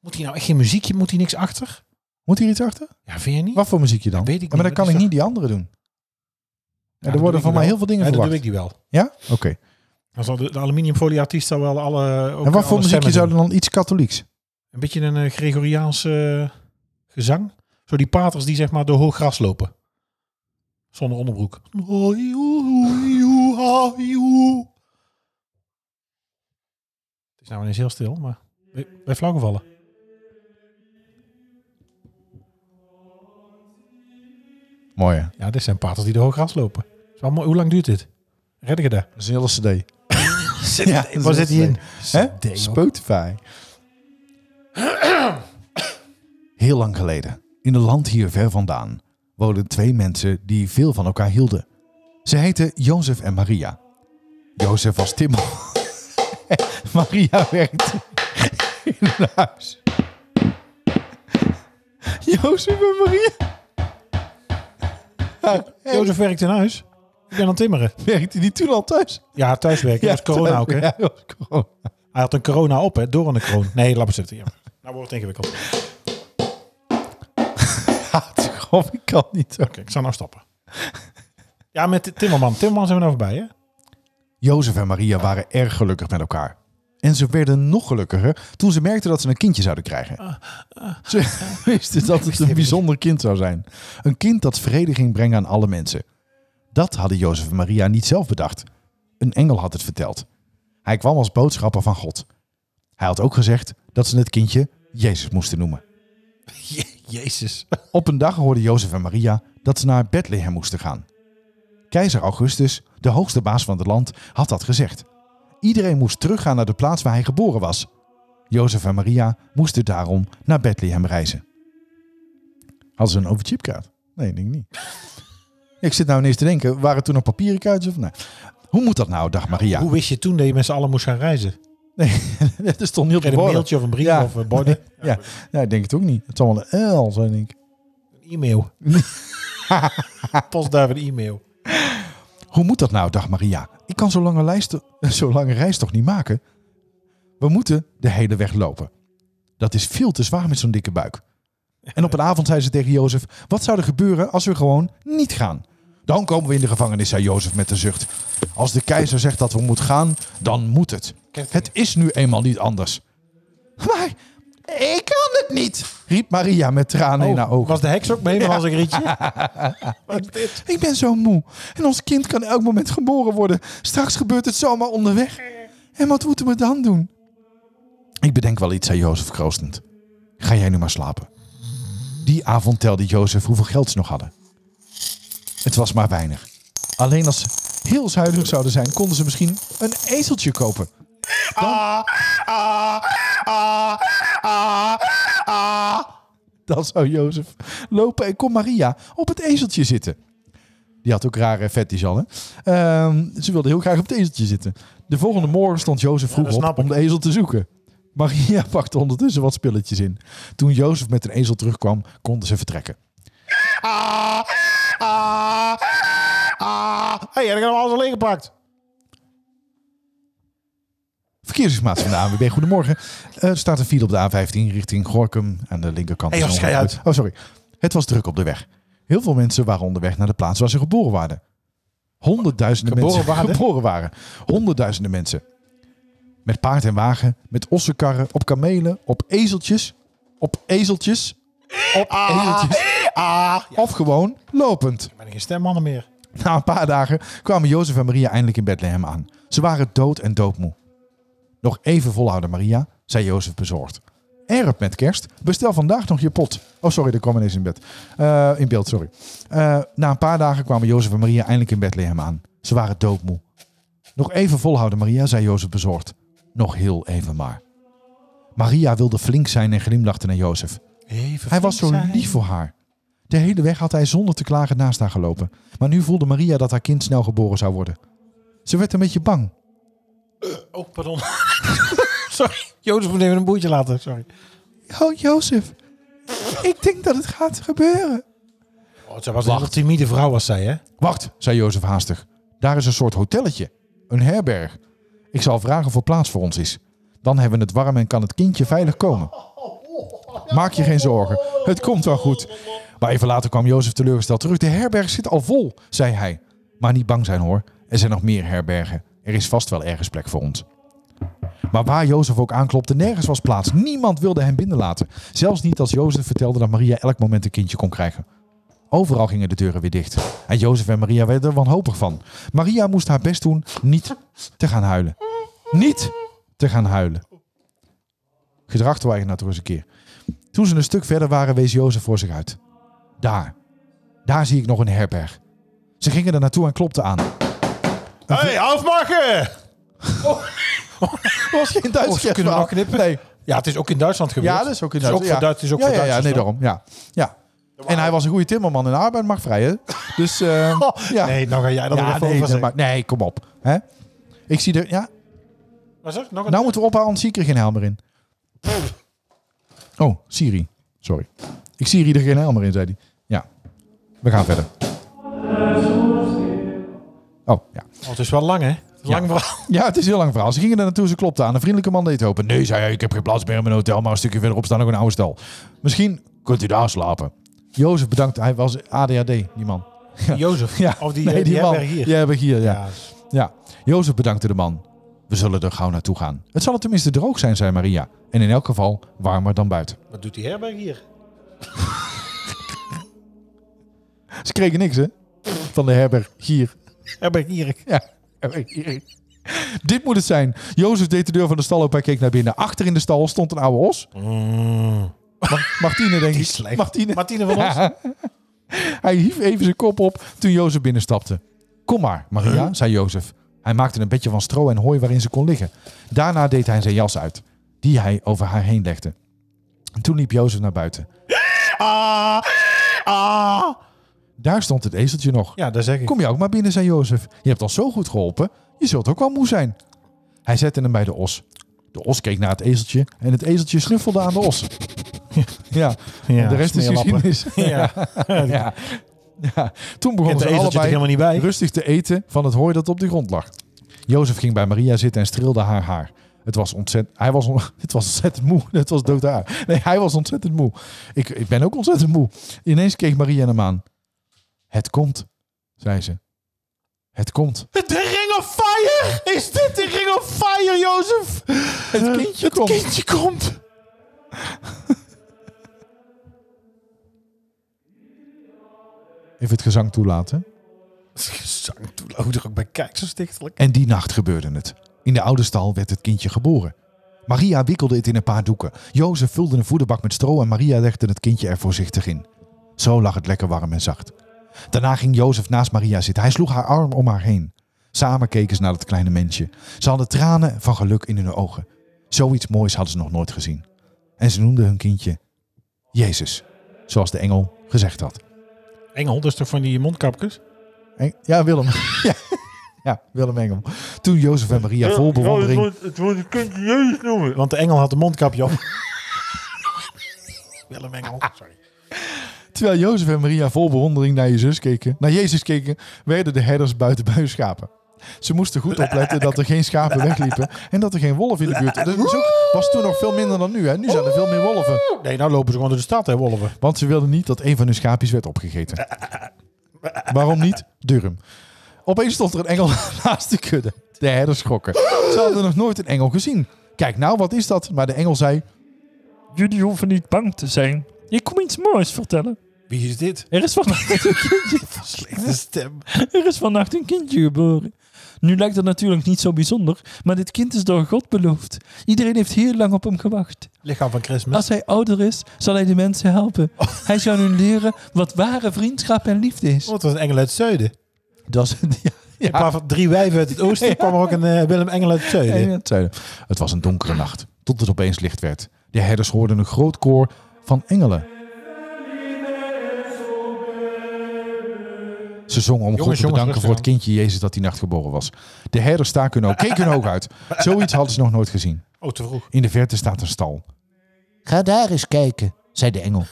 C: Moet hij nou echt geen muziekje? Moet hij niks achter?
B: Moet hier iets achter?
C: Ja, vind je niet?
B: Wat voor muziekje dan?
C: Dat weet ik
B: Ja, maar
C: niet,
B: dan kan ik
C: maar dat
B: niet
C: is
B: die andere doen.
C: Ja,
B: er
C: dat doe
B: worden
C: ik
B: van mij
C: wel.
B: heel veel dingen
C: Nee, dat doe
B: verwacht.
C: ik die wel.
B: Ja? Oké.
C: Dan zal de, de aluminiumfolieartiest zou wel alle... Ook
B: En wat
C: alle
B: voor muziekje
C: stemmen
B: zou
C: doen.
B: er dan iets katholieks?
C: Een beetje een eh, Gregoriaans eh, gezang. Zo die paters die zeg maar door hoog gras lopen. Zonder onderbroek. Het is nou ineens heel stil, maar bij- bij flauw gevallen.
B: Mooi, hè?
C: Ja, dit zijn paters die door hoog gras lopen. Is wel mooi. Hoe lang duurt dit? Redden je dat?
B: Dat is een hele cd. ja, dat is
C: Waar
B: een
C: zit hij
B: hele
C: in?
B: cd. Hè?
C: Cd, joh.
B: Spotify. Heel lang geleden, in een land hier ver vandaan, woonden twee mensen die veel van elkaar hielden. Ze heten Jozef en Maria. Jozef was timmer. Maria werkte in een huis. Jozef en Maria
C: Jozef werkt in huis. Ik ben aan het timmeren.
B: werkten die toen al thuis.
C: Ja, thuiswerken. Dat was corona ook, hè?
B: Ja, dat was corona.
C: Hij had een corona op, hè? Door een kroon. Nee, laat maar zitten. Ja. Nou wordt het ingewikkeld. Oké,
B: Houd toch op, ik kan niet. hoor.
C: ik zou nou stappen. Ja, met de Timmerman. Timmerman zijn we nou voorbij, hè?
B: Jozef en Maria waren erg gelukkig met elkaar. En ze werden nog gelukkiger toen ze merkten dat ze een kindje zouden krijgen. Ze wisten dat het een bijzonder kind zou zijn. Een kind dat vrede ging brengen aan alle mensen. Dat hadden Jozef en Maria niet zelf bedacht. Een engel had het verteld. Hij kwam als boodschapper van God. Hij had ook gezegd dat ze het kindje Jezus moesten noemen.
C: Jezus.
B: Op een dag hoorden Jozef en Maria dat ze naar Bethlehem moesten gaan. Keizer Augustus, de hoogste baas van het land, had dat gezegd. Iedereen moest teruggaan naar de plaats waar hij geboren was. Jozef en Maria moesten daarom naar Bethlehem reizen. Hadden ze een overchipkaart? Nee, denk ik niet. Ik zit nou ineens te denken, waren het toen nog papieren kaartjes of nee? Hoe moet dat nou, dacht Maria?
C: Hoe wist je toen dat je met z'n allen moest gaan reizen? Kreeg
B: Het is toch niet op
C: je
B: de
C: een
B: borden?
C: mailtje of een brief
B: Ja.
C: of een body?
B: Ja, ja, ik denk het ook niet. Het zal wel een L zijn, denk ik.
C: Een e-mail. Postduif een e-mail.
B: Hoe moet dat nou, dacht Maria? Ik kan zo'n lange, lijst, zo'n lange reis toch niet maken? We moeten de hele weg lopen. Dat is veel te zwaar met zo'n dikke buik. En op een avond zei ze tegen Jozef: Wat zou er gebeuren als we gewoon niet gaan? Dan komen we in de gevangenis, zei Jozef met een zucht. Als de keizer zegt dat we moeten gaan, dan moet het. Het is nu eenmaal niet anders. Maar ik kan het niet, riep Maria met tranen in haar
C: Oh,
B: ogen.
C: was de heks ook mee met als een rietje? Wat is dit?
B: Ik ben zo moe. En ons kind kan elk moment geboren worden. Straks gebeurt het zomaar onderweg. En wat moeten we dan doen? Ik bedenk wel iets, zei Jozef kroostend. Ga jij nu maar slapen. Die avond telde Jozef hoeveel geld ze nog hadden. Het was maar weinig. Alleen als ze heel zuinig zouden zijn, konden ze misschien een ezeltje kopen. Dan... Dan zou Jozef lopen en kon Maria op het ezeltje zitten. Die had ook rare fetish al, hè? Ehm, ze wilde heel graag op het ezeltje zitten. De volgende morgen stond Jozef vroeg
C: dat
B: op
C: snap ik.
B: om de ezel te zoeken. Maria pakte ondertussen wat spulletjes in. Toen Jozef met een ezel terugkwam, konden ze vertrekken.
C: Hé, Ah, hey, dan gaan we alles al ingepakt.
B: Verkeersinformatie van de ANWB, goedemorgen. Eh, Er staat een file op de A15 richting Gorkum aan de linkerkant.
C: Hey,
B: is
C: joh,
B: een
C: schei
B: ongeluk.
C: uit.
B: Oh, sorry. Het was druk op de weg. Heel veel mensen waren onderweg naar de plaats waar ze geboren waren. Honderdduizenden
C: Geboren
B: mensen
C: waren?
B: geboren waren. Honderdduizenden mensen. Met paard en wagen, met ossenkarren, op kamelen, op ezeltjes, op ezeltjes, op
C: Ah.
B: ezeltjes. Of gewoon lopend.
C: Ik ben geen stemmannen meer.
B: Na een paar dagen kwamen Jozef en Maria eindelijk in Bethlehem aan. Ze waren dood en doodmoe. Nog even volhouden, Maria, zei Jozef bezorgd. Erop met kerst, bestel vandaag nog je pot. Oh, sorry, er kwam ineens in, bed. Eh, in beeld. Sorry. Eh, na een paar dagen kwamen Jozef en Maria eindelijk in Bethlehem aan. Ze waren doodmoe. Nog even volhouden, Maria, zei Jozef bezorgd. Nog heel even maar. Maria wilde flink zijn en glimlachte naar Jozef. Hij was zo lief voor haar. De hele weg had hij zonder te klagen naast haar gelopen. Maar nu voelde Maria dat haar kind snel geboren zou worden. Ze werd een beetje bang.
C: Oh, pardon. Sorry. Jozef moet even een boertje laten. Sorry.
B: Oh, Jozef. Ik denk dat het gaat gebeuren.
C: Oh, ze was een heel timide vrouw was zij, hè?
B: Wacht, zei Jozef haastig. Daar is een soort hotelletje. Een herberg. Ik zal vragen of er plaats voor ons is. Dan hebben we het warm en kan het kindje veilig komen. Maak je geen zorgen. Het komt wel goed. Maar even later kwam Jozef teleurgesteld terug. De herberg zit al vol, zei hij. Maar niet bang zijn hoor. Er zijn nog meer herbergen. Er is vast wel ergens plek voor ons. Maar waar Jozef ook aanklopte, nergens was plaats. Niemand wilde hem binnenlaten. Zelfs niet als Jozef vertelde dat Maria elk moment een kindje kon krijgen. Overal gingen de deuren weer dicht. En Jozef en Maria werden er wanhopig van. Maria moest haar best doen niet te gaan huilen. Niet te gaan huilen. Gedrag te nou toch eens een keer. Toen ze een stuk verder waren, wees Jozef voor zich uit. Daar. Daar zie ik nog een herberg. Ze gingen er naartoe en klopten aan.
C: Hé, hey, afmaken!
B: was geen Duits.
C: Oh, ze kunnen
B: verhaal.
C: wel knippen.
B: Nee.
C: Ja, het is ook in Duitsland gebeurd.
B: Ja, dat is ook in
C: Het
B: Duitsland.
C: ook
B: ja.
C: voor Duits, het is ook
B: ja,
C: voor
B: ja, ja,
C: Duitsers
B: nee,
C: dan.
B: daarom. Ja. ja. En hij was een goede timmerman en de arbeid mag vrij, hè? Dus, eh, ja.
C: Nee, nou ga jij dat
B: ja,
C: er even
B: nee,
C: over
B: nee,
C: zeggen.
B: maar, nee, kom op. Hè? Ik zie er... Ja,
C: Was er nog een...
B: nou moeten we ophouden, anders zie ik er geen helm meer in. Oh, Siri. Sorry. Ik zie hier er geen helm meer in, zei hij. Ja. We gaan verder. Oh, ja.
C: Oh, het is wel lang, hè? Lang verhaal.
B: Ja, het is een heel lang verhaal. Ze gingen er naartoe, ze klopte aan. Een vriendelijke man deed het open. Nee, zei hij, ik heb geen plaats meer in mijn hotel, maar een stukje verderop staat nog een oude stal. Misschien kunt u daar slapen. Jozef bedankt, hij was ADHD, die man.
C: Jozef.
B: Ja,
C: Of die,
B: nee,
C: eh, die,
B: man.
C: herberg hier.
B: Die hebben hier, ja. ja.
C: Ja.
B: Jozef bedankte de man. We zullen er gauw naartoe gaan. Het zal tenminste droog zijn, zei Maria. En in elk geval warmer dan buiten.
C: Wat doet die herberg hier?
B: Ze kregen niks, hè? Van de herberg hier.
C: Herberg hier.
B: Ja. Dit moet het zijn. Jozef deed de deur van de stal open en keek naar binnen. Achter in de stal stond een oude os. Mar- Martine, denk ik.
C: slecht.
B: Martine.
C: Martine van ons.
B: Hij hief even zijn kop op toen Jozef binnenstapte. Kom maar, Maria, zei Jozef. Hij maakte een bedje van stro en hooi waarin ze kon liggen. Daarna deed hij zijn jas uit, die hij over haar heen legde. En toen liep Jozef naar buiten.
C: Ah, ah.
B: Daar stond het ezeltje nog.
C: Ja, daar zeg ik.
B: Kom je ook maar binnen, zei Jozef. Je hebt ons zo goed geholpen, je zult ook wel moe zijn. Hij zette hem bij de os. De os keek naar het ezeltje en het ezeltje snuffelde aan de os. Ja,
C: Ja,
B: de rest is
C: smeerlappen.
B: geschiedenis.
C: Ja.
B: Ja. Ja. Toen begonnen
C: Kent
B: ze
C: de ezeltje er
B: allebei
C: helemaal niet bij.
B: rustig te eten van het hooi dat op de grond lag. Jozef ging bij Maria zitten en streelde haar haar. Het was ontzettend, hij was, on- het was ontzettend moe. Het was dood haar. Nee, hij was ontzettend moe. Ik, ik ben ook ontzettend moe. Ineens keek Maria hem aan. Het komt, zei ze. Het komt.
C: De Ring of Fire! Is dit de Ring of Fire, Jozef?
B: Het kindje komt.
C: kindje komt.
B: Even het gezang toelaten.
C: Gezang toeloder ook bij kijk zo stichtelijk.
B: En die nacht gebeurde het. In de oude stal werd het kindje geboren. Maria wikkelde het in een paar doeken. Jozef vulde een voederbak met stro en Maria legde het kindje er voorzichtig in. Zo lag het lekker warm en zacht. Daarna ging Jozef naast Maria zitten. Hij sloeg haar arm om haar heen. Samen keken ze naar dat kleine mensje. Ze hadden tranen van geluk in hun ogen. Zoiets moois hadden ze nog nooit gezien. En ze noemden hun kindje Jezus, zoals de engel gezegd had.
C: Engel, dat is toch van die mondkapjes?
B: Eng- Ja, Willem. ja. ja, Willem Engel. Toen Jozef en Maria vol bewondering
C: het wordt een kindje Jezus noemen. Want de Engel had een mondkapje op. Willem Engel, sorry.
B: Terwijl Jozef en Maria vol bewondering naar, Jezus keken, naar Jezus keken, werden de herders buiten bij hun schapen. Ze moesten goed opletten dat er geen schapen wegliepen en dat er geen wolven in de buurt. Dat is ook- was toen nog veel minder dan nu. Hè? Nu zijn er veel meer wolven.
C: Nee, nou lopen ze gewoon door de stad, hè, wolven.
B: Want ze wilden niet dat een van hun schaapjes werd opgegeten. Waarom niet? Durham. Opeens stond er een engel naast de kudde. De herders schrokken. Ze hadden nog nooit een engel gezien. Kijk nou, wat is dat? Maar de engel zei...
E: Jullie hoeven niet bang te zijn. Ik kom iets moois vertellen.
C: Wie is dit?
E: Er is vannacht een kindje,
C: Slechte stem.
E: er is vannacht een kindje geboren. Nu lijkt het natuurlijk niet zo bijzonder, maar dit kind is door God beloofd. Iedereen heeft heel lang op hem gewacht.
C: Lichaam van Christmas.
E: Als hij ouder is, zal hij de mensen helpen. Hij zal hun leren wat ware vriendschap en liefde
C: Oh,
E: is.
C: het was een engel uit het zuiden.
B: Dat is, ja,
C: In plaats van drie wijven uit het oosten kwam er ook een eh, Willem Engel uit het
B: En in
C: zuiden.
B: het zuiden. Het was een donkere nacht, tot het opeens licht werd. De herders hoorden een groot koor van engelen. Ze zongen om God
C: jongens,
B: te bedanken
C: rustig
B: voor het
C: aan.
B: kindje Jezus dat die nacht geboren was. De herders staken hun oog, keken hun oog uit. Zoiets hadden ze nog nooit gezien.
C: Oh, te vroeg.
B: In de verte staat een stal. Ga daar eens kijken, zei de engel.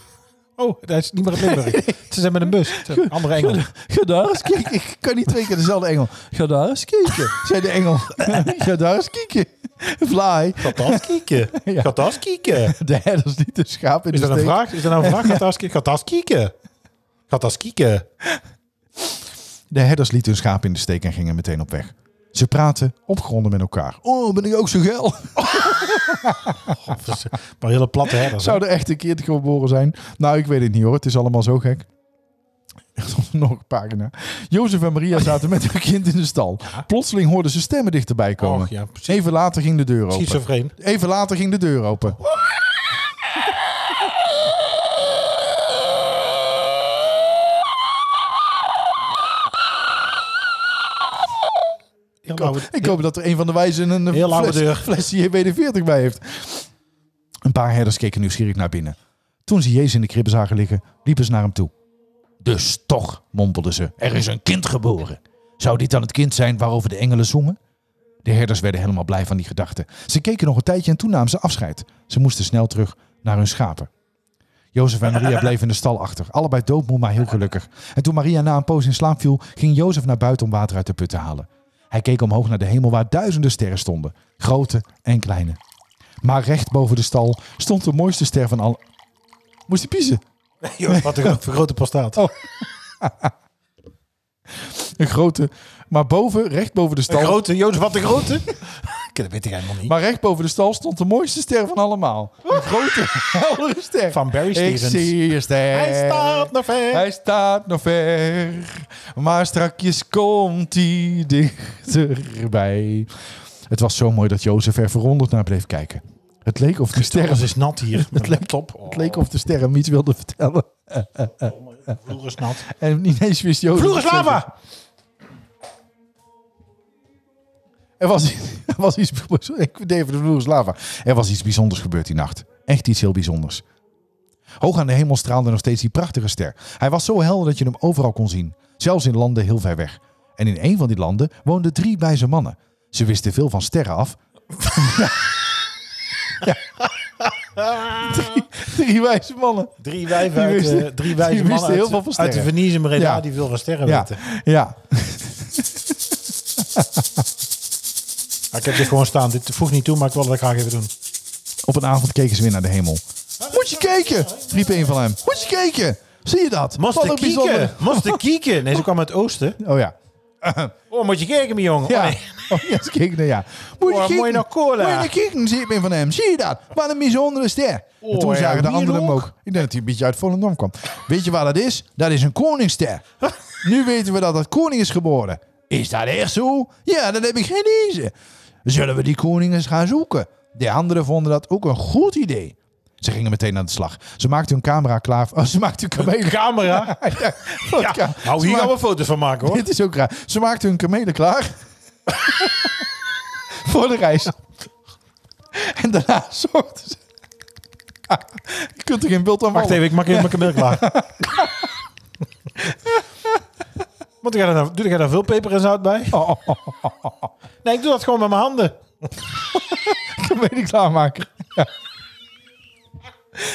C: Oh, daar is niet meer in Limburg. Ze zijn met een bus. Het is een Andere engel.
E: Ga daar eens kijken.
B: Kijk, ik kan niet twee keer dezelfde engel.
E: Ga daar eens kijken.
B: Zei de engel. Ga daar eens kijken. Fly.
C: Katas kieken.
B: Ja.
C: Katas kieken.
B: De herders lieten de schaap in
C: Is
B: de
C: dat een
B: steek.
C: vraag? Is dat nou een vraag? Katas kieken. Katas kieken. Katas kieken.
B: De herders lieten hun schaap in de steek en gingen meteen op weg. Ze praten opgewonden met elkaar. Oh, ben ik ook zo geil?
C: Dat is Maar hele platte herders. hè?
B: Zou er echt een keer te geboren zijn? Nou, ik weet het niet hoor. Het is allemaal zo gek. Nog een pagina. Jozef en Maria zaten met hun kind in de stal. Plotseling hoorden ze stemmen dichterbij komen.
C: Och, Oh, ja, precies.
B: Even later ging de deur open.
C: Schizofreen.
B: Even later ging de deur open.
C: Heel
B: Ik hoop,
C: oude-
B: ik hoop dat er een van de wijzen een eh,
C: Heel oude deur.
B: fles, fles JB40 bij heeft. Een paar herders keken nieuwsgierig naar binnen. Toen ze Jezus in de kribben zagen liggen, liepen ze naar hem toe. Dus toch, mompelden ze, er is een kind geboren. Zou dit dan het kind zijn waarover de engelen zongen? De herders werden helemaal blij van die gedachte. Ze keken nog een tijdje en toen namen ze afscheid. Ze moesten snel terug naar hun schapen. Jozef en Maria bleven in de stal achter, allebei doodmoe, maar heel gelukkig. En toen Maria na een poos in slaap viel, ging Jozef naar buiten om water uit de put te halen. Hij keek omhoog naar de hemel waar duizenden sterren stonden, grote en kleine. Maar recht boven de stal stond de mooiste ster van alle. Moest hij piezen?
C: Joh, Wat een grote postaat.
B: Oh, Een grote. Maar boven, recht boven de stal.
C: grote, Jozef, wat een grote. Ik dat weet ik helemaal niet.
B: Maar recht boven de stal stond de mooiste ster van allemaal. Een grote, heldere ster.
C: Ah. Van Barry Stevens.
B: Ik zie je ster.
C: Hij staat nog ver.
B: Hij staat nog ver, maar strakjes komt hij dichterbij. Het was zo mooi dat Jozef er verwonderd naar bleef kijken. Het leek of de sterren,
C: Alles is nat hier. Het
B: leek-
C: top. Oh,
B: het leek of de sterren hem iets wilden vertellen.
C: de vloer is nat.
B: En ineens wist Jozef...
C: Vloer is
B: het zelf.
C: lava!
B: Er was, er was iets... Ik deed even de vloer is lava. Er was iets bijzonders gebeurd die nacht. Echt iets heel bijzonders. Hoog aan de hemel straalde nog steeds die prachtige ster. Hij was zo helder dat je hem overal kon zien. Zelfs in landen heel ver weg. En in een van die landen woonden drie wijze mannen. Ze wisten veel van sterren af. Ja. Ja. Drie, drie wijze mannen.
C: Drie wijven uit,
B: wisten-
C: eh, drie wijze
B: die wisten
C: mannen
B: heel
C: uit,
B: veel van
C: uit de
B: sterren.
C: Venise Breda,
B: Ja.
C: die wil van sterren
B: Ja,
C: weten.
B: ja.
C: Ah, ik heb dit gewoon staan. Dit voegt niet toe, maar ik wil dat graag even doen.
B: Op een avond keken ze weer naar de hemel. Moet je kijken, riep een van hem. Moet je kijken, zie je dat? Wat
C: Moesten
B: een
C: kieken!
B: bijzonder-
C: Moesten kieken! Nee, ze kwam uit het oosten.
B: Oh ja,
C: Oh, moet je kijken, mijn jongen.
B: ja.
C: Oh, nee.
B: Oh, ja, ze keken naar ja. Moet
C: Oh, mooi naar cola.
B: Moet je naar kijken, zie ik een van hem. Zie je dat? Wat een bijzondere ster. en toen
C: Oh, ja,
B: zagen de
C: hier
B: anderen hem
C: ook.
B: ook. Ik denk dat hij een beetje uit Volendam kwam. Weet je waar dat is? Dat is een koningsster. nu weten we dat dat koning is geboren. Is dat echt zo? Ja, dat heb ik gelezen. Zullen we die koning eens gaan zoeken? De anderen vonden dat ook een goed idee. Ze gingen meteen aan de slag. Ze maakten hun camera klaar. Oh, ze maakten hun kamelen
C: Camera.
B: ja,
C: Ja.
B: vodka.
C: Nou,
B: Ze
C: hier
B: maak-
C: gaan we foto's van maken, hoor.
B: Dit is ook raar. Ze maakten hun kamelen klaar. voor de reis. En daarna zochten ze... Je kunt er geen beeld aan
C: Wacht
B: maken.
C: even, ik maak even mijn kameel klaar. Want doe jij daar, nou- doe jij daar veel peper en zout bij? Nee, ik doe dat gewoon met mijn handen.
B: Kamelen klaarmaker. Ja.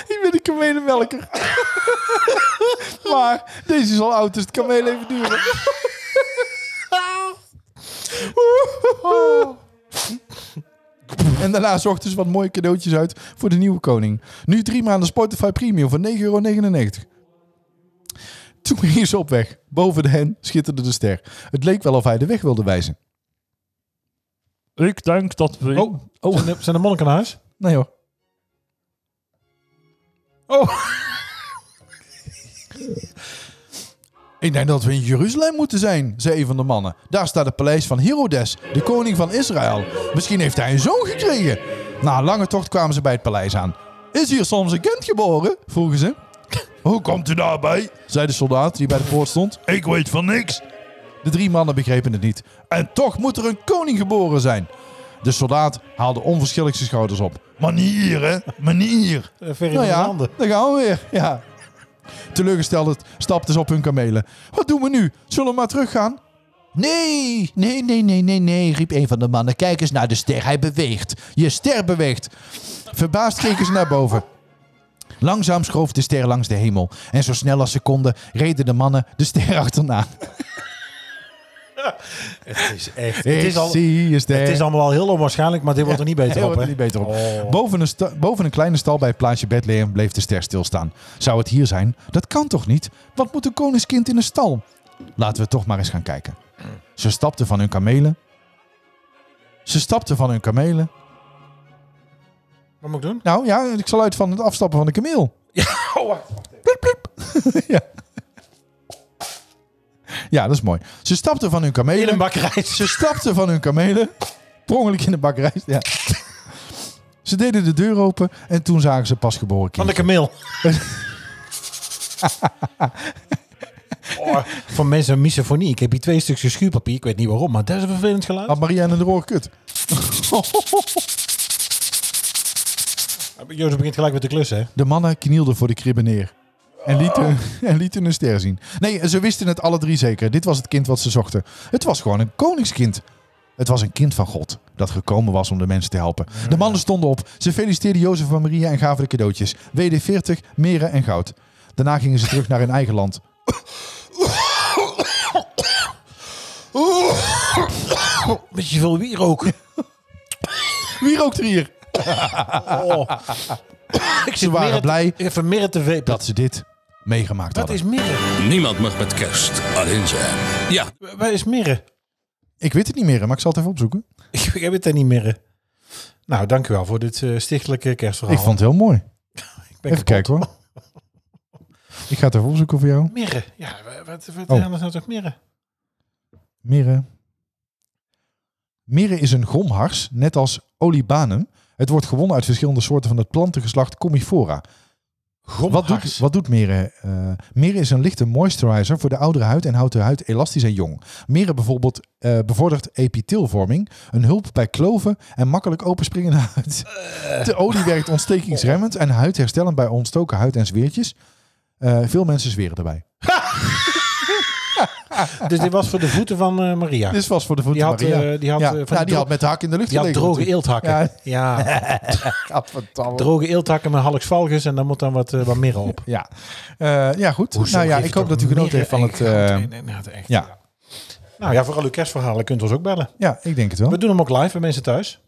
B: Ik ben een kamelenmelker. maar deze is al oud, dus het kameel even duren. En daarna zochten ze wat mooie cadeautjes uit voor de nieuwe koning. Nu drie maanden Spotify Premium voor 9,99 euro. Toen ging ze op weg. Boven de hen schitterde de ster. Het leek wel of hij de weg wilde wijzen.
E: Ik denk dat we...
C: Oh, Zijn, de, zijn de monniken naar huis?
B: Nee hoor.
C: Oh,
B: Ik denk dat we in Jeruzalem moeten zijn, zei een van de mannen. Daar staat het paleis van Herodes, de koning van Israël. Misschien heeft hij een zoon gekregen. Na een lange tocht kwamen ze bij het paleis aan. Is hier soms een kind geboren? vroegen ze. Hoe komt u daarbij? zei de soldaat die bij de poort stond. Ik weet van niks. De drie mannen begrepen het niet. En toch moet er een koning geboren zijn. De soldaat haalde onverschillig zijn schouders op.
C: Ah,
B: Manier, hè? Manier.
C: verre
B: Nou
C: van mijn
B: ja,
C: handen.
B: daar gaan we weer. Ja. Teleurgesteld stapten ze op hun kamelen. Wat doen we nu? Zullen we maar teruggaan? Nee, nee, nee, nee, nee, nee, riep een van de mannen. Kijk eens naar de ster, hij beweegt. Je ster beweegt. Verbaasd keken ze naar boven. Langzaam schoof de ster langs de hemel. En zo snel als ze konden, reden de mannen de ster achterna.
C: Het is echt...
B: Ik
C: Het is, al,
B: zie een ster.
C: het is allemaal al heel onwaarschijnlijk, maar dit wordt er niet beter
B: Heel
C: op,
B: wat
C: hè?
B: niet beter op.
C: Oh.
B: Boven, een sta- boven een kleine stal bij het plaatsje Bethlehem bleef de ster stilstaan. Zou het hier zijn? Dat kan toch niet? Wat moet een koningskind in een stal? Laten we toch maar eens gaan kijken. Ze stapten van hun kamelen. Ze stapten van hun kamelen.
C: Wat moet ik doen?
B: Nou ja, ik zal uit van het afstappen van de kameel.
C: oh.
B: Ja, ja. ja, dat is mooi. Ze stapten van hun
C: In een
B: kamelen.
C: bakkerij.
B: Ze stapten van hun kamelen. Per ongeluk in de bakkerij. Ja. Ze deden de deur open en toen zagen ze pasgeboren
C: Van de
B: kindje.
C: kameel. oh, voor mensen een misofonie. Ik heb hier twee stukjes schuurpapier. Ik weet niet waarom, maar dat is een vervelend geluid.
B: Had Marianne de Roor kut.
C: Jozef begint gelijk met de klus, hè?
B: De mannen knielden voor de kribben neer. En lieten, en lieten een ster zien. Nee, ze wisten het alle drie zeker. Dit was het kind wat ze zochten. Het was gewoon een koningskind. Het was een kind van God dat gekomen was om de mensen te helpen. De mannen stonden op. Ze feliciteerden Jozef en Maria en gaven de cadeautjes. WD-40, meren en goud. Daarna gingen ze terug naar hun eigen land.
C: Beetje veel wierook.
B: Wie rookt er hier?
C: Oh. Ik
B: Ze waren blij
C: Even mirren te vepen.
B: dat ze dit meegemaakt
C: Wat
B: hadden.
C: is mirren?
D: Niemand mag met kerst alleen zijn. Ja,
C: Wat is mirren?
B: Ik weet het niet meer, maar ik zal het even opzoeken.
C: Ik, ik weet het niet mirren. Nou, dank u wel voor dit eh, stichtelijke kerstverhaal.
B: Ik vond het heel mooi.
C: Ik ben
B: Even
C: kapot.
B: kijken hoor. Ik ga het even opzoeken voor jou.
C: Mirren. Ja, wa- wat, wat
B: Oh.
C: oh. is nou toch mirren?
B: Mirre. Mirre is een gomhars, net als olibanum. Het Het wordt gewonnen uit verschillende soorten van het plantengeslacht Comifora. Wat doet,
C: Gomhars.
B: wat doet meren? eh meren is een lichte moisturizer voor de oudere huid en houdt de huid elastisch en jong. Meren bijvoorbeeld eh, bevordert epithelvorming, een hulp bij kloven en makkelijk openspringende huid. De olie werkt ontstekingsremmend en huidherstellend bij ontstoken huid en zweertjes. Eh, veel mensen zweren erbij.
C: Dus dit was voor de voeten van eh, Maria.
B: Dit was voor de voeten
C: Die had,
B: Maria.
C: eh, die had,
B: ja,
C: eh, van
B: nou,
C: die
B: die
C: dro-
B: had met de hak in de lucht
C: die had
B: gelegen
C: droge eelthakken.
B: Ja.
C: Ja, droge eelthakken met Hallex valgus en daar moet dan wat, eh, wat meer op.
B: Ja. Eh, ja, goed. nou ja, ik hoop dat u genoten heeft van het... eh,
C: nee, nee, nee, echt.
B: ja.
C: Nou ja, vooral uw kerstverhalen kunt u ons ook bellen.
B: ja, ik denk het wel.
C: We doen hem ook live bij mensen thuis.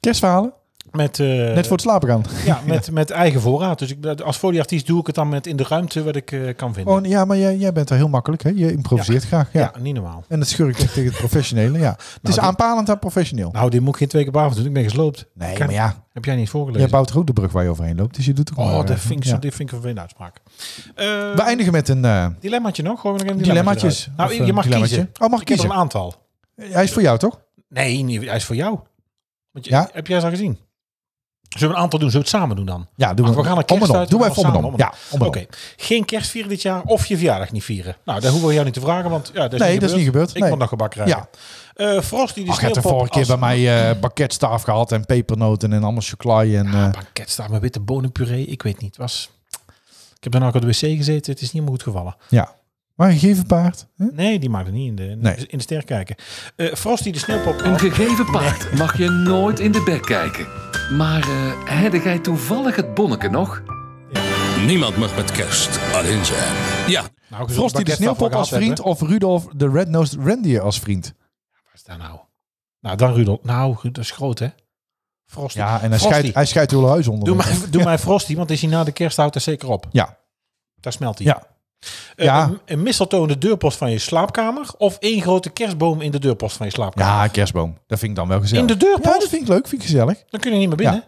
B: Kerstverhalen?
C: Met, eh,
B: Net voor het slapen gaan.
C: ja, met, met eigen voorraad. Dus ik, als folieartiest doe ik het dan met in de ruimte wat ik eh, kan vinden.
B: Oh, ja, maar jij, jij bent wel heel makkelijk. Hè? Je improviseert graag. Ja.
C: ja. niet normaal.
B: En dat schurkt echt tegen het professionele. Ja. het is
C: dit-
B: aanpalend aan professioneel.
C: Nou, dit moet ik geen twee keer per avond doen. Ik ben gesloopt.
B: nee,
C: kan-
B: maar ja.
C: Heb jij niet voorgelezen?
B: Jij bouwt er ook de brug waar je overheen loopt. Dus je doet ook maar,
C: oh,
B: eh,
C: dat vind ik, zo,
B: ja.
C: dit vind ik een vervelende uitspraak.
B: We
C: Eh
B: eindigen met een eh,
C: dilemmaatje nog? Gooi maar nog een dilemmaatje
B: dilemmaatjes.
C: eruit.
B: Of,
C: Nou, je-
B: eh,
C: je mag
B: dilemmaatje.
C: kiezen.
B: Oh, mag ik
C: Ik heb er
B: kiezen.
C: een aantal.
B: Hij is voor jou, toch?
C: Nee, nee, hij is voor jou. Want je,
B: Ja?
C: Heb jij ze al gezien? Zullen we een aantal doen? Zullen we het samen doen dan?
B: Ja, doen
C: Ach,
B: we,
C: we gaan een
B: om en om.
C: kerst
B: Doen wij
C: uit-
B: om en
C: samen,
B: om.
C: om en
B: Ja,
C: om.
B: om en
C: Oké,
B: om.
C: geen kerst vieren dit jaar of je verjaardag niet vieren. Nou, daar hoeven we jou niet te vragen, want ja, dat is
B: Nee,
C: niet
B: dat is niet gebeurd.
C: Ik
B: Nee.
C: kon nog gebak krijgen. Ja. Frost die de
B: Ach, je hebt de
C: sneeuwpop
B: vorige keer
C: als-
B: bij mij eh bakketstaaf gehad en pepernoten en allemaal chocolade. En,
C: Ah,
B: eh,
C: banket staat met witte bonenpuree. Ik weet niet. het Was... Ik heb daarna ook op de wc gezeten. Het is niet meer goed gevallen.
B: ja. Maar een gegeven paard. Hè?
C: Nee, die mag er niet in de, in
B: Nee.
C: de- in de ster kijken. Eh Frost die de sneeuwpop
A: Een
C: af-
A: gegeven paard mag je nooit in de bek kijken. Maar eh heb jij toevallig het bonneke nog?
D: Niemand mag met kerst alleen zijn. Ja,
C: Nou, gezond
B: Frosty de
C: bakketstaaf
B: Sneeuwpop
C: wel
B: als
C: gehad
B: vriend
C: hebben.
B: of Rudolf de Red-Nosed Reindeer als vriend?
C: Waar is dat nou? Nou, dan Rudolf. Nou, Ru- dat is groot, hè? Frosty.
B: Ja, en hij
C: Frosty.
B: scheidt, hij scheidt uw huis onder.
C: Doe mij, doe mij Frosty, want is hij na de kerst houdt er zeker op.
B: Ja,
C: Daar smelt hij.
B: ja.
C: Eh,
B: Ja.
C: Een, een mistletoe in de deurpost van je slaapkamer of één grote kerstboom in de deurpost van je slaapkamer.
B: Ja, een kerstboom. Dat vind ik dan wel gezellig.
C: In de deurpost?
B: Ja, dat vind ik leuk. Vind ik gezellig.
C: Dan kun je niet meer binnen.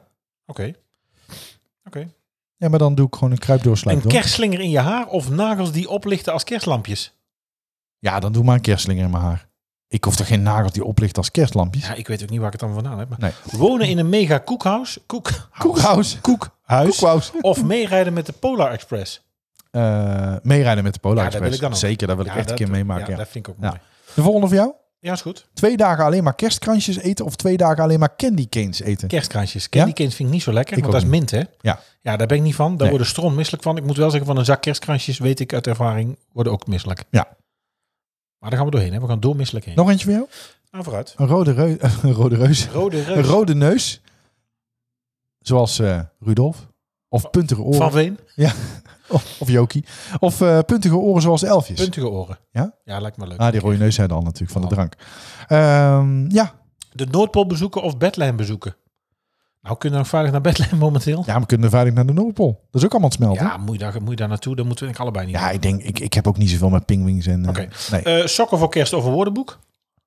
C: Oké.
B: Ja, maar dan doe ik gewoon een kruipdoorsluit.
C: Een
B: hoor.
C: kerstslinger in je haar of nagels die oplichten als kerstlampjes?
B: Ja, dan doe maar een kerstslinger in mijn haar. Ik hoef toch geen nagels die oplichten als kerstlampjes?
C: Ja, ik weet ook niet waar ik het dan vandaan heb. maar-
B: Nee.
C: Wonen in een mega koekhuis, koek,
B: Koekhuis.
C: koekhuis
B: Koekhuis.
C: of meerijden met de Polar Express.
B: Eh, meerijden met de Polar
C: Ja, dat wil
B: Express.
C: ik dan ook.
B: Zeker, dat wil ik
C: Ja,
B: echt een
C: dat-
B: keer meemaken.
C: Ja,
B: ja.
C: dat vind ik ook
B: Ja.
C: mooi. Ja,
B: De volgende voor jou?
C: is goed.
B: Twee dagen alleen maar kerstkransjes eten of twee dagen alleen maar candy canes eten?
C: Kerstkransjes. Candy
B: Ja?
C: canes vind ik niet zo lekker,
B: Ik
C: want dat
B: ook
C: is mint, hè?
B: Ja.
C: Ja, daar ben ik niet van. Daar
B: Nee.
C: worden strom misselijk van. Ik moet wel zeggen, van een zak kerstkransjes, weet ik uit ervaring, worden ook misselijk.
B: Ja.
C: Maar daar gaan we doorheen, hè? We gaan door misselijk heen.
B: Nog eentje voor jou?
C: Nou, vooruit.
B: Een rode, reu- een rode reus.
C: Rode
B: Een
C: reus.
B: rode neus. Zoals eh, Rudolf. Of puntige oren.
C: Van Veen.
B: Ja, of, of Jokie. Of eh, puntige oren zoals de elfjes.
C: Puntige Oh. oren.
B: Ja?
C: Ja, lijkt me leuk.
B: ah, die rode neus zijn dan natuurlijk van de drank. Ehm, ja.
C: De Noordpool bezoeken of Bethlehem bezoeken? Nou, kunnen we nog veilig naar Bethlehem momenteel?
B: ja, we kunnen veilig naar de Noordpool. Dat is ook allemaal aan het smelten.
C: Ja, moet je, daar, moet je daar naartoe? Dan moeten we denk ik allebei niet.
B: Ja, ik denk, ik, ik heb ook niet zoveel met pingwings en eh,
C: Oké.
B: nee,
C: Eh, sokken voor kerst of een woordenboek?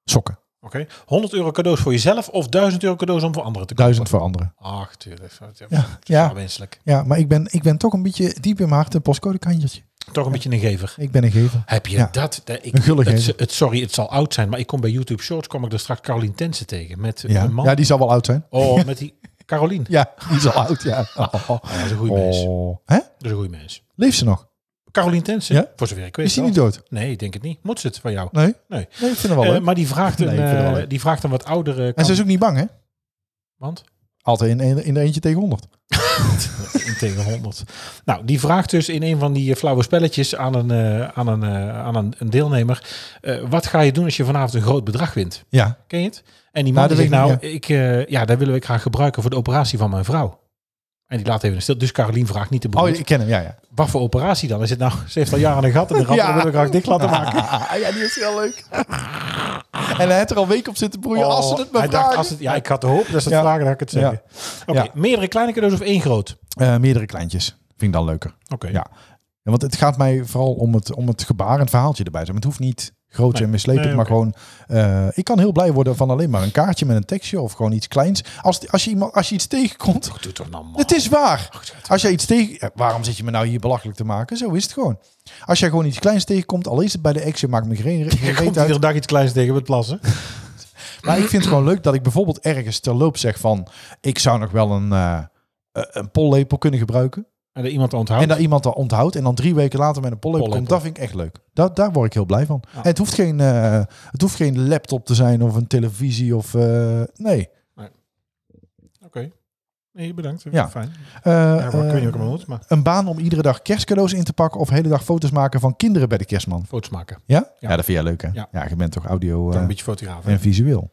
B: sokken.
C: Oké. 100 euro cadeaus voor jezelf of 1000 euro cadeaus om voor anderen te kopen?
B: Duizend voor anderen.
C: Ach, tuurlijk. Dat is
B: Ja,
C: wel
B: ja,
C: wenselijk.
B: ja maar ik ben, ik ben toch een beetje diep in mijn hart een postcodekantjertje.
C: Toch een beetje een gever.
B: Ik ben een gever.
C: Heb je
B: Ja.
C: dat? dat- ik,
B: Een gulle
C: het,
B: gever.
C: het- sorry, het zal oud zijn, maar ik kom bij YouTube Shorts kom ik er straks Carolien Tensen tegen met eh,
B: Ja.
C: een man.
B: ja, die zal wel oud zijn.
C: Oh, met die Carolien.
B: Ja, die is al oud, ja. Oh.
C: dat is een goede mens.
B: Hè?
C: Dat is een goede mens.
B: Leeft ze nog?
C: Carolien Tensen,
B: Ja?
C: voor zover ik weet.
B: Is die
C: wel.
B: niet dood?
C: Nee, ik denk het niet. Moet ze het van jou?
B: Nee?
C: Nee.
B: Nee, ik vind hem wel
C: Eh,
B: leuk.
C: maar die vraagt, een,
B: Nee, ik vind het wel
C: eh,
B: leuk.
C: die vraagt een wat eh, oudere
B: En
C: kant-
B: ze is ook niet bang, hè?
C: want
B: Altijd in, in, in de eentje tegen honderd.
C: in tegen 100. Nou, die vraagt dus in een van die eh, flauwe spelletjes aan een, eh, aan een, eh, aan een, een deelnemer: eh, wat ga je doen als je vanavond een groot bedrag wint?
B: Ja.
C: Ken je het? En die
B: Nou, dat
C: man die zegt, nou,
B: weet
C: ik, eh, ja, daar willen we graag gebruiken voor de operatie van mijn vrouw. En die laat even een stil. Dus Carolien vraagt niet te
B: Oh,
C: bedoelen.
B: ik ken hem, ja, ja.
C: Wat voor operatie dan? Is het nou, ze heeft al jaren een gat in de rap,
B: Ja.
C: dat willen we graag dicht laten maken.
B: ja, die is heel leuk. en hij heeft er al weken op zitten broeien als ze het maar
C: Oh, hij dacht,
B: vragen.
C: als het, ja, ik had de hoop dat ze het
B: Ja.
C: vragen, dat ik het zeggen. Oké,
B: Ja.
C: meerdere kleine cadeaus of één groot?
B: Eh, meerdere kleintjes. Vind ik dan leuker.
C: Oké.
B: Ja. Ja, want het gaat mij vooral om het, om het gebaar en het verhaaltje erbij. zijn. Maar Het hoeft niet groot en mislepend,
C: Nee,
B: maar
C: oké.
B: gewoon... eh, ik kan heel blij worden van alleen maar een kaartje met een tekstje of gewoon iets kleins. Als, als, je, iemand, als je iets tegenkomt,
C: Doe toch nou, man.
B: Oh. het is waar. Als jij iets tegen... ja, Waarom zit je me nou hier belachelijk te maken? Zo is het gewoon. Als jij gewoon iets kleins tegenkomt, al is het bij de action, maakt me geen, geen
C: Je komt
B: reet uit.
C: iedere dag iets kleins tegen met plassen.
B: Maar ik vind het gewoon leuk dat ik bijvoorbeeld ergens terloops zeg van... Ik zou nog wel een, eh, eh, een pollepel kunnen gebruiken.
C: En dat iemand onthoudt.
B: En dat iemand dat onthoudt. En dan drie weken later met een pollepel, komt.
C: Pollepel.
B: Dat vind ik echt leuk. Daar, daar word ik heel blij van.
C: Ja.
B: En het hoeft, geen, eh, het hoeft geen laptop te zijn of een televisie of... eh, nee.
C: Oké. Nee, bedankt.
B: Ja.
C: Ja. Fijn.
B: Eh,
C: Ja, maar ik
B: eh,
C: weet niet wat ik moet, maar
B: een baan om iedere dag kerstcadeaus in te pakken... of hele dag foto's maken van kinderen bij de kerstman.
C: foto's maken.
B: Ja? Ja,
C: Ja.
B: dat vind jij leuk, hè? Ja,
C: Ja.
B: je bent toch audio
C: Ik
B: eh,
C: ben een beetje fotograaf. hè.
B: en visueel.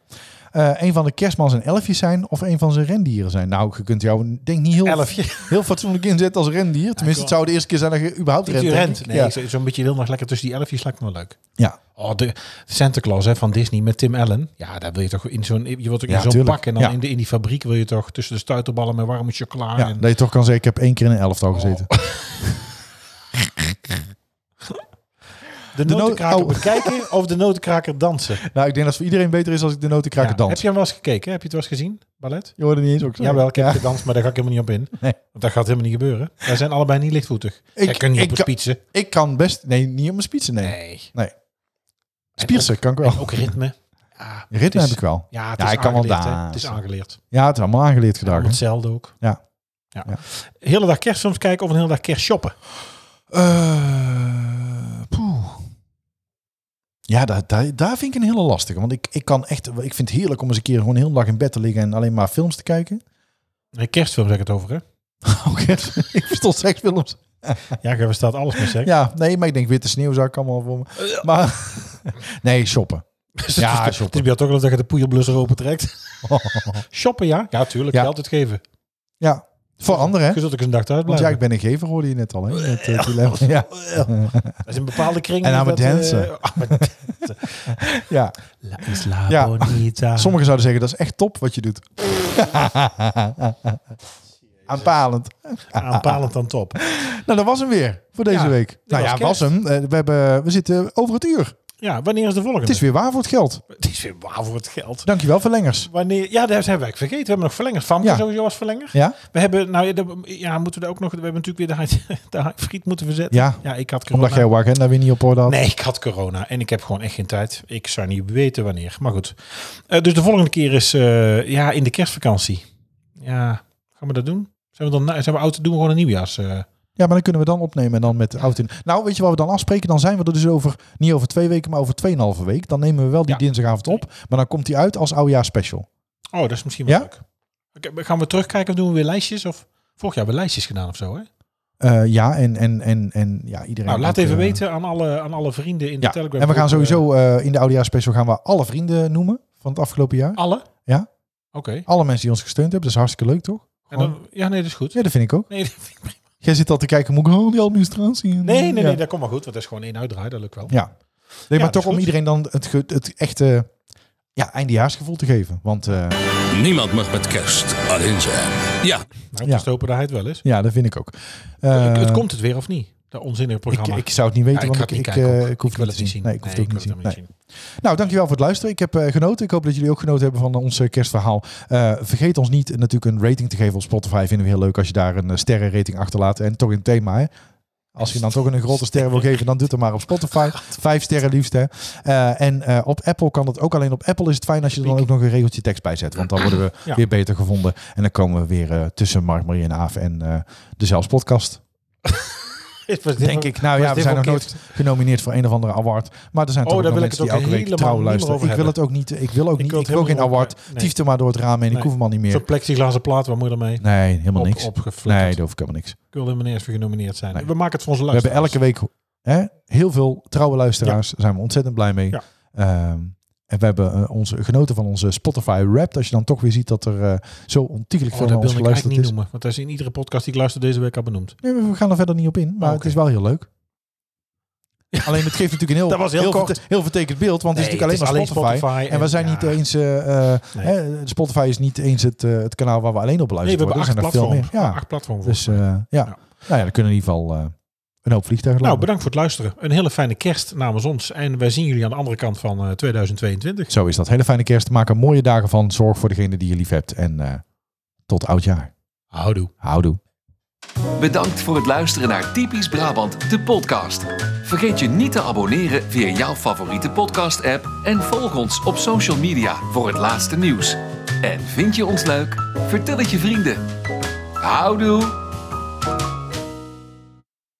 B: Eh, een van de kerstmans en elfjes zijn of een van zijn rendieren zijn. Nou, je kunt jou ik denk niet heel,
C: Elfje. Oh
B: heel fatsoenlijk inzetten als rendier. Tenminste, het zou de eerste keer zijn dat je überhaupt
C: Die
B: rent. denk
C: rent.
B: ik.
C: Nee,
B: ja.
C: zo- zo'n beetje heel nog lekker tussen die elfjes lijkt me wel leuk.
B: ja,
C: Oh, de Santa Claus hè, van Disney met Tim Allen. Ja, daar wil je toch in zo'n... Je wilt ook
B: Ja,
C: in zo'n
B: tuurlijk.
C: pak en dan
B: Ja.
C: in, de, in die fabriek wil je toch tussen de stuiterballen met warme chocola.
B: ja,
C: en,
B: dat je toch kan zeggen, ik heb één keer in een
C: Oh.
B: elftal gezeten.
C: de
B: noot-
C: notenkraker
B: oh.
C: bekijken of de notenkraker dansen.
B: Nou, ik denk dat het voor iedereen beter is als ik de notenkraker
C: Ja.
B: dans.
C: Heb je hem wel eens gekeken? Heb je het wel eens gezien, ballet?
B: Je hoorde niet eens ook zo.
C: Jawel, ik heb
B: Ja.
C: gedanst, maar daar ga ik helemaal niet op in.
B: Nee.
C: Want dat gaat helemaal niet gebeuren. Wij zijn allebei niet lichtvoetig. Ik, Jij kunt niet
B: ik
C: op
B: kan-
C: een spitsen.
B: Ik kan best... Nee, niet op mijn spitsen, nee.
C: Nee.
B: Spiersen kan ik wel.
C: En ook Dus- ritme. Ja,
B: Ritme
C: het
B: heb
C: is-
B: ik wel.
C: Ja, het
B: Ja,
C: is
B: ik kan wel
C: aangeleerd, hè.
B: dansen.
C: Het is aangeleerd.
B: Ja, het is allemaal aangeleerd gedrag. hè.
C: Hetzelfde ook.
B: Ja.
C: ja.
B: Ja.
C: Hele dag kerstfilms kijken of een hele dag kerst shoppen.
B: Eh, poeh. Ja, daar, daar, daar vind ik een hele lastige. Want ik, ik kan echt, ik vind het heerlijk om eens een keer gewoon heel dag in bed te liggen en alleen maar films te kijken.
C: Een kerstfilm zeg ik het over, hè?
B: Ook echt, ik verstond echt films.
C: Ja, ik verstaat alles met seks.
B: Ja, nee, maar ik denk witte sneeuwzak allemaal voor me. Maar nee, shoppen. Ja,
C: ja,
B: shoppen.
C: shoppen. Het is bij jou toch wel dat je de poeierblusser opentrekt. shoppen, ja? Ja, tuurlijk.
B: Ja.
C: Geld het geven.
B: Ja, voor anderen
C: Je
B: hè.
C: zult ook eens een dag thuis
B: Want
C: blijven.
B: ja, ik ben een gever, hoorde je net al. Hè? Het, eh, dilemma. ja,
C: Dat is een bepaalde kring.
B: En aan
C: dat,
B: het dansen.
C: eh, ah, maar-
B: ja.
C: La is la
B: Ja.
C: bonita.
B: Sommigen zouden zeggen, dat is echt top wat je doet. Aanpalend. ah.
C: Aanpalend aan Ah, top.
B: Nou, dat was hem weer voor deze
C: Ja,
B: week. Nou
C: was
B: ja,
C: kerst.
B: was hem. Eh, We, hebben, we zitten over het uur.
C: Ja, wanneer is de volgende?
B: Het is weer waar voor het geld.
C: het is weer waar voor het geld.
B: Dankjewel, verlengers.
C: Wanneer, ja, daar hebben we eigenlijk vergeten. We hebben nog verlengers. Famke
B: Ja.
C: sowieso als verlenger.
B: Ja?
C: We hebben, nou ja, de- ja, moeten we daar ook nog, we hebben natuurlijk weer de, haai- de haai- friet moeten verzetten.
B: Ja,
C: Ja, ik had corona.
B: omdat jij jouw agenda weer niet op orde had.
C: Nee, ik had corona en ik heb gewoon echt geen tijd. Ik zou niet weten wanneer, maar goed. Eh, dus de volgende keer is eh, ja, in de kerstvakantie. Ja, gaan we dat doen? Zijn we dan na- zijn we oud te doen we gewoon een nieuwjaars? eh,
B: Ja, maar dan kunnen we dan opnemen en dan met de auto in. Nou, weet je wat we dan afspreken? Dan zijn we er dus over, niet over twee weken, maar over tweeënhalve week. Dan nemen we wel die
C: Ja.
B: dinsdagavond op. Maar dan komt die uit als oudejaarspecial.
C: Oh, dat is misschien wel
B: Ja?
C: leuk. Oké, maar gaan we terugkijken of doen we weer lijstjes? Of vorig jaar hebben we lijstjes gedaan of zo, hè?
B: Eh ja, en, en, en, en ja, iedereen...
C: Nou, laat
B: ook,
C: even
B: eh,
C: weten aan alle, aan alle vrienden in
B: Ja,
C: de Telegram.
B: en we gaan
C: groep, eh,
B: sowieso eh, in de oudejaarspecial gaan we alle vrienden noemen van het afgelopen jaar.
C: eh, alle?
B: Ja.
C: Oké.
B: Alle mensen die ons gesteund hebben. Dat is hartstikke leuk, toch?
C: En dan- Ja, nee, dat is goed.
B: Ja, dat vind ik ook.
C: Nee, dat vind ik prima.
B: Jij zit al te kijken, moet ik al die administratie? en-
C: nee, nee, nee,
B: ja.
C: dat komt maar goed, want dat is gewoon één uitdraai, dat lukt wel.
B: Ja. Nee,
C: Ja,
B: maar
C: dat is
B: toch om
C: goed.
B: iedereen dan het, ge- het echte ja, eindejaarsgevoel te geven. Want eh,
D: Niemand mag met kerst alleen zijn. Ja,
C: Nou,
B: Ja.
C: ja. hopen dat hij het wel is.
B: ja, dat vind ik ook. Eh,
C: Ik- het komt het weer of niet? Dat onzinnige
B: Ik,
C: programma.
B: ik zou het niet weten,
C: Ja, ik
B: want
C: ga
B: ik,
C: het niet
B: ik,
C: kijken
B: eh,
C: ook.
B: ik hoef
C: Ik
B: het
C: wil
B: niet te
C: het
B: zien.
C: niet zien.
B: Nee, ik hoef
C: Nee,
B: het ook
C: ik
B: niet te
C: wil
B: zien.
C: het ook niet
B: Nee. Nou, dankjewel voor het luisteren. Ik heb eh, genoten. Ik hoop dat jullie ook genoten hebben van ons eh, kerstverhaal. Eh, vergeet ons niet eh, natuurlijk een rating te geven op Spotify. Vinden we heel leuk als je daar een eh, sterrenrating achterlaat. En toch in het thema, hè? Als je dan toch een grote sterren wil geven, dan doet het maar op Spotify. Vijf sterren liefst, hè. Eh, en eh, op Apple kan dat ook. Alleen op Apple is het fijn als je er dan ook nog een regeltje tekst bij zet. Want dan worden we
C: Ja.
B: weer beter gevonden. En dan komen we weer eh, tussen Mark, Marie en Aaf en eh de Zelfs podcast.
C: Is- was dit
B: Denk
C: wel-
B: ik. Nou
C: was
B: ja, we
C: dit
B: zijn
C: wel
B: nog nooit genomineerd voor een of andere award. Maar er zijn
C: Oh,
B: toch ook
C: daar
B: nog
C: wil ik
B: mensen die
C: het ook
B: elke week
C: helemaal
B: trouw
C: niet meer
B: luisteren.
C: over
B: Ik wil het
C: hebben.
B: ook niet. Ik wil ook
C: Ik
B: niet.
C: wil
B: Ik
C: het
B: wil geen
C: helemaal
B: award.
C: niet over- nee.
B: Tief er maar door het raam heen. Ik
C: Nee.
B: hoef hem al niet meer.
C: Zo'n plexiglazen plaat, wat moet je ermee?
B: Nee, helemaal niks.
C: Opgeflikkerd.
B: Nee, daar hoef ik helemaal niks.
C: Ik wil helemaal niet eens voor genomineerd zijn.
B: Nee.
C: We maken het voor onze
B: We hebben
C: luisteraars.
B: elke week hè, heel veel trouwe luisteraars. Daar zijn we ontzettend blij mee.
C: Ja.
B: Ehm, en we hebben eh, onze, genoten van onze Spotify Wrapped. Als je dan toch weer ziet dat er eh, zo ontiegelijk
C: Oh,
B: veel naar
C: dat
B: ons
C: wil ik eigenlijk
B: geluisterd
C: niet
B: is.
C: noemen. Want dat is in iedere podcast die ik luister deze week al benoemd.
B: Nee, we gaan er verder niet op in. Maar
C: Oh,
B: het
C: oké.
B: is wel heel leuk. Alleen het geeft natuurlijk een heel,
C: Dat was heel kort.
B: verte- heel vertekend beeld. Want het is natuurlijk alleen maar Spotify. En we zijn niet
C: ja.
B: eens. eh, eh,
C: Nee.
B: hè, Spotify is niet eens het, eh, het kanaal waar we alleen op
C: Nee, we
B: luisteren.
C: hebben acht
B: worden. Er zijn er
C: platformen.
B: veel meer. Ja.
C: Acht platformen.
B: Dus eh, ja.
C: Ja.
B: Nou ja, dan kunnen in ieder geval eh, een hoop vliegtuigen
C: nou,
B: landen.
C: bedankt voor het luisteren. Een hele fijne kerst namens ons. En wij zien jullie aan de andere kant van eh, 2022.
B: Zo is dat. Hele fijne kerst. Maak er mooie dagen van. Zorg voor degene die je lief hebt. En eh, tot oud jaar.
C: Houdoe.
B: Houdoe.
A: Bedankt voor het luisteren naar Typisch Brabant, de podcast. Vergeet je niet te abonneren via jouw favoriete podcast-app en volg ons op social media voor het laatste nieuws. En vind je ons leuk? Vertel het je vrienden. Houdoe!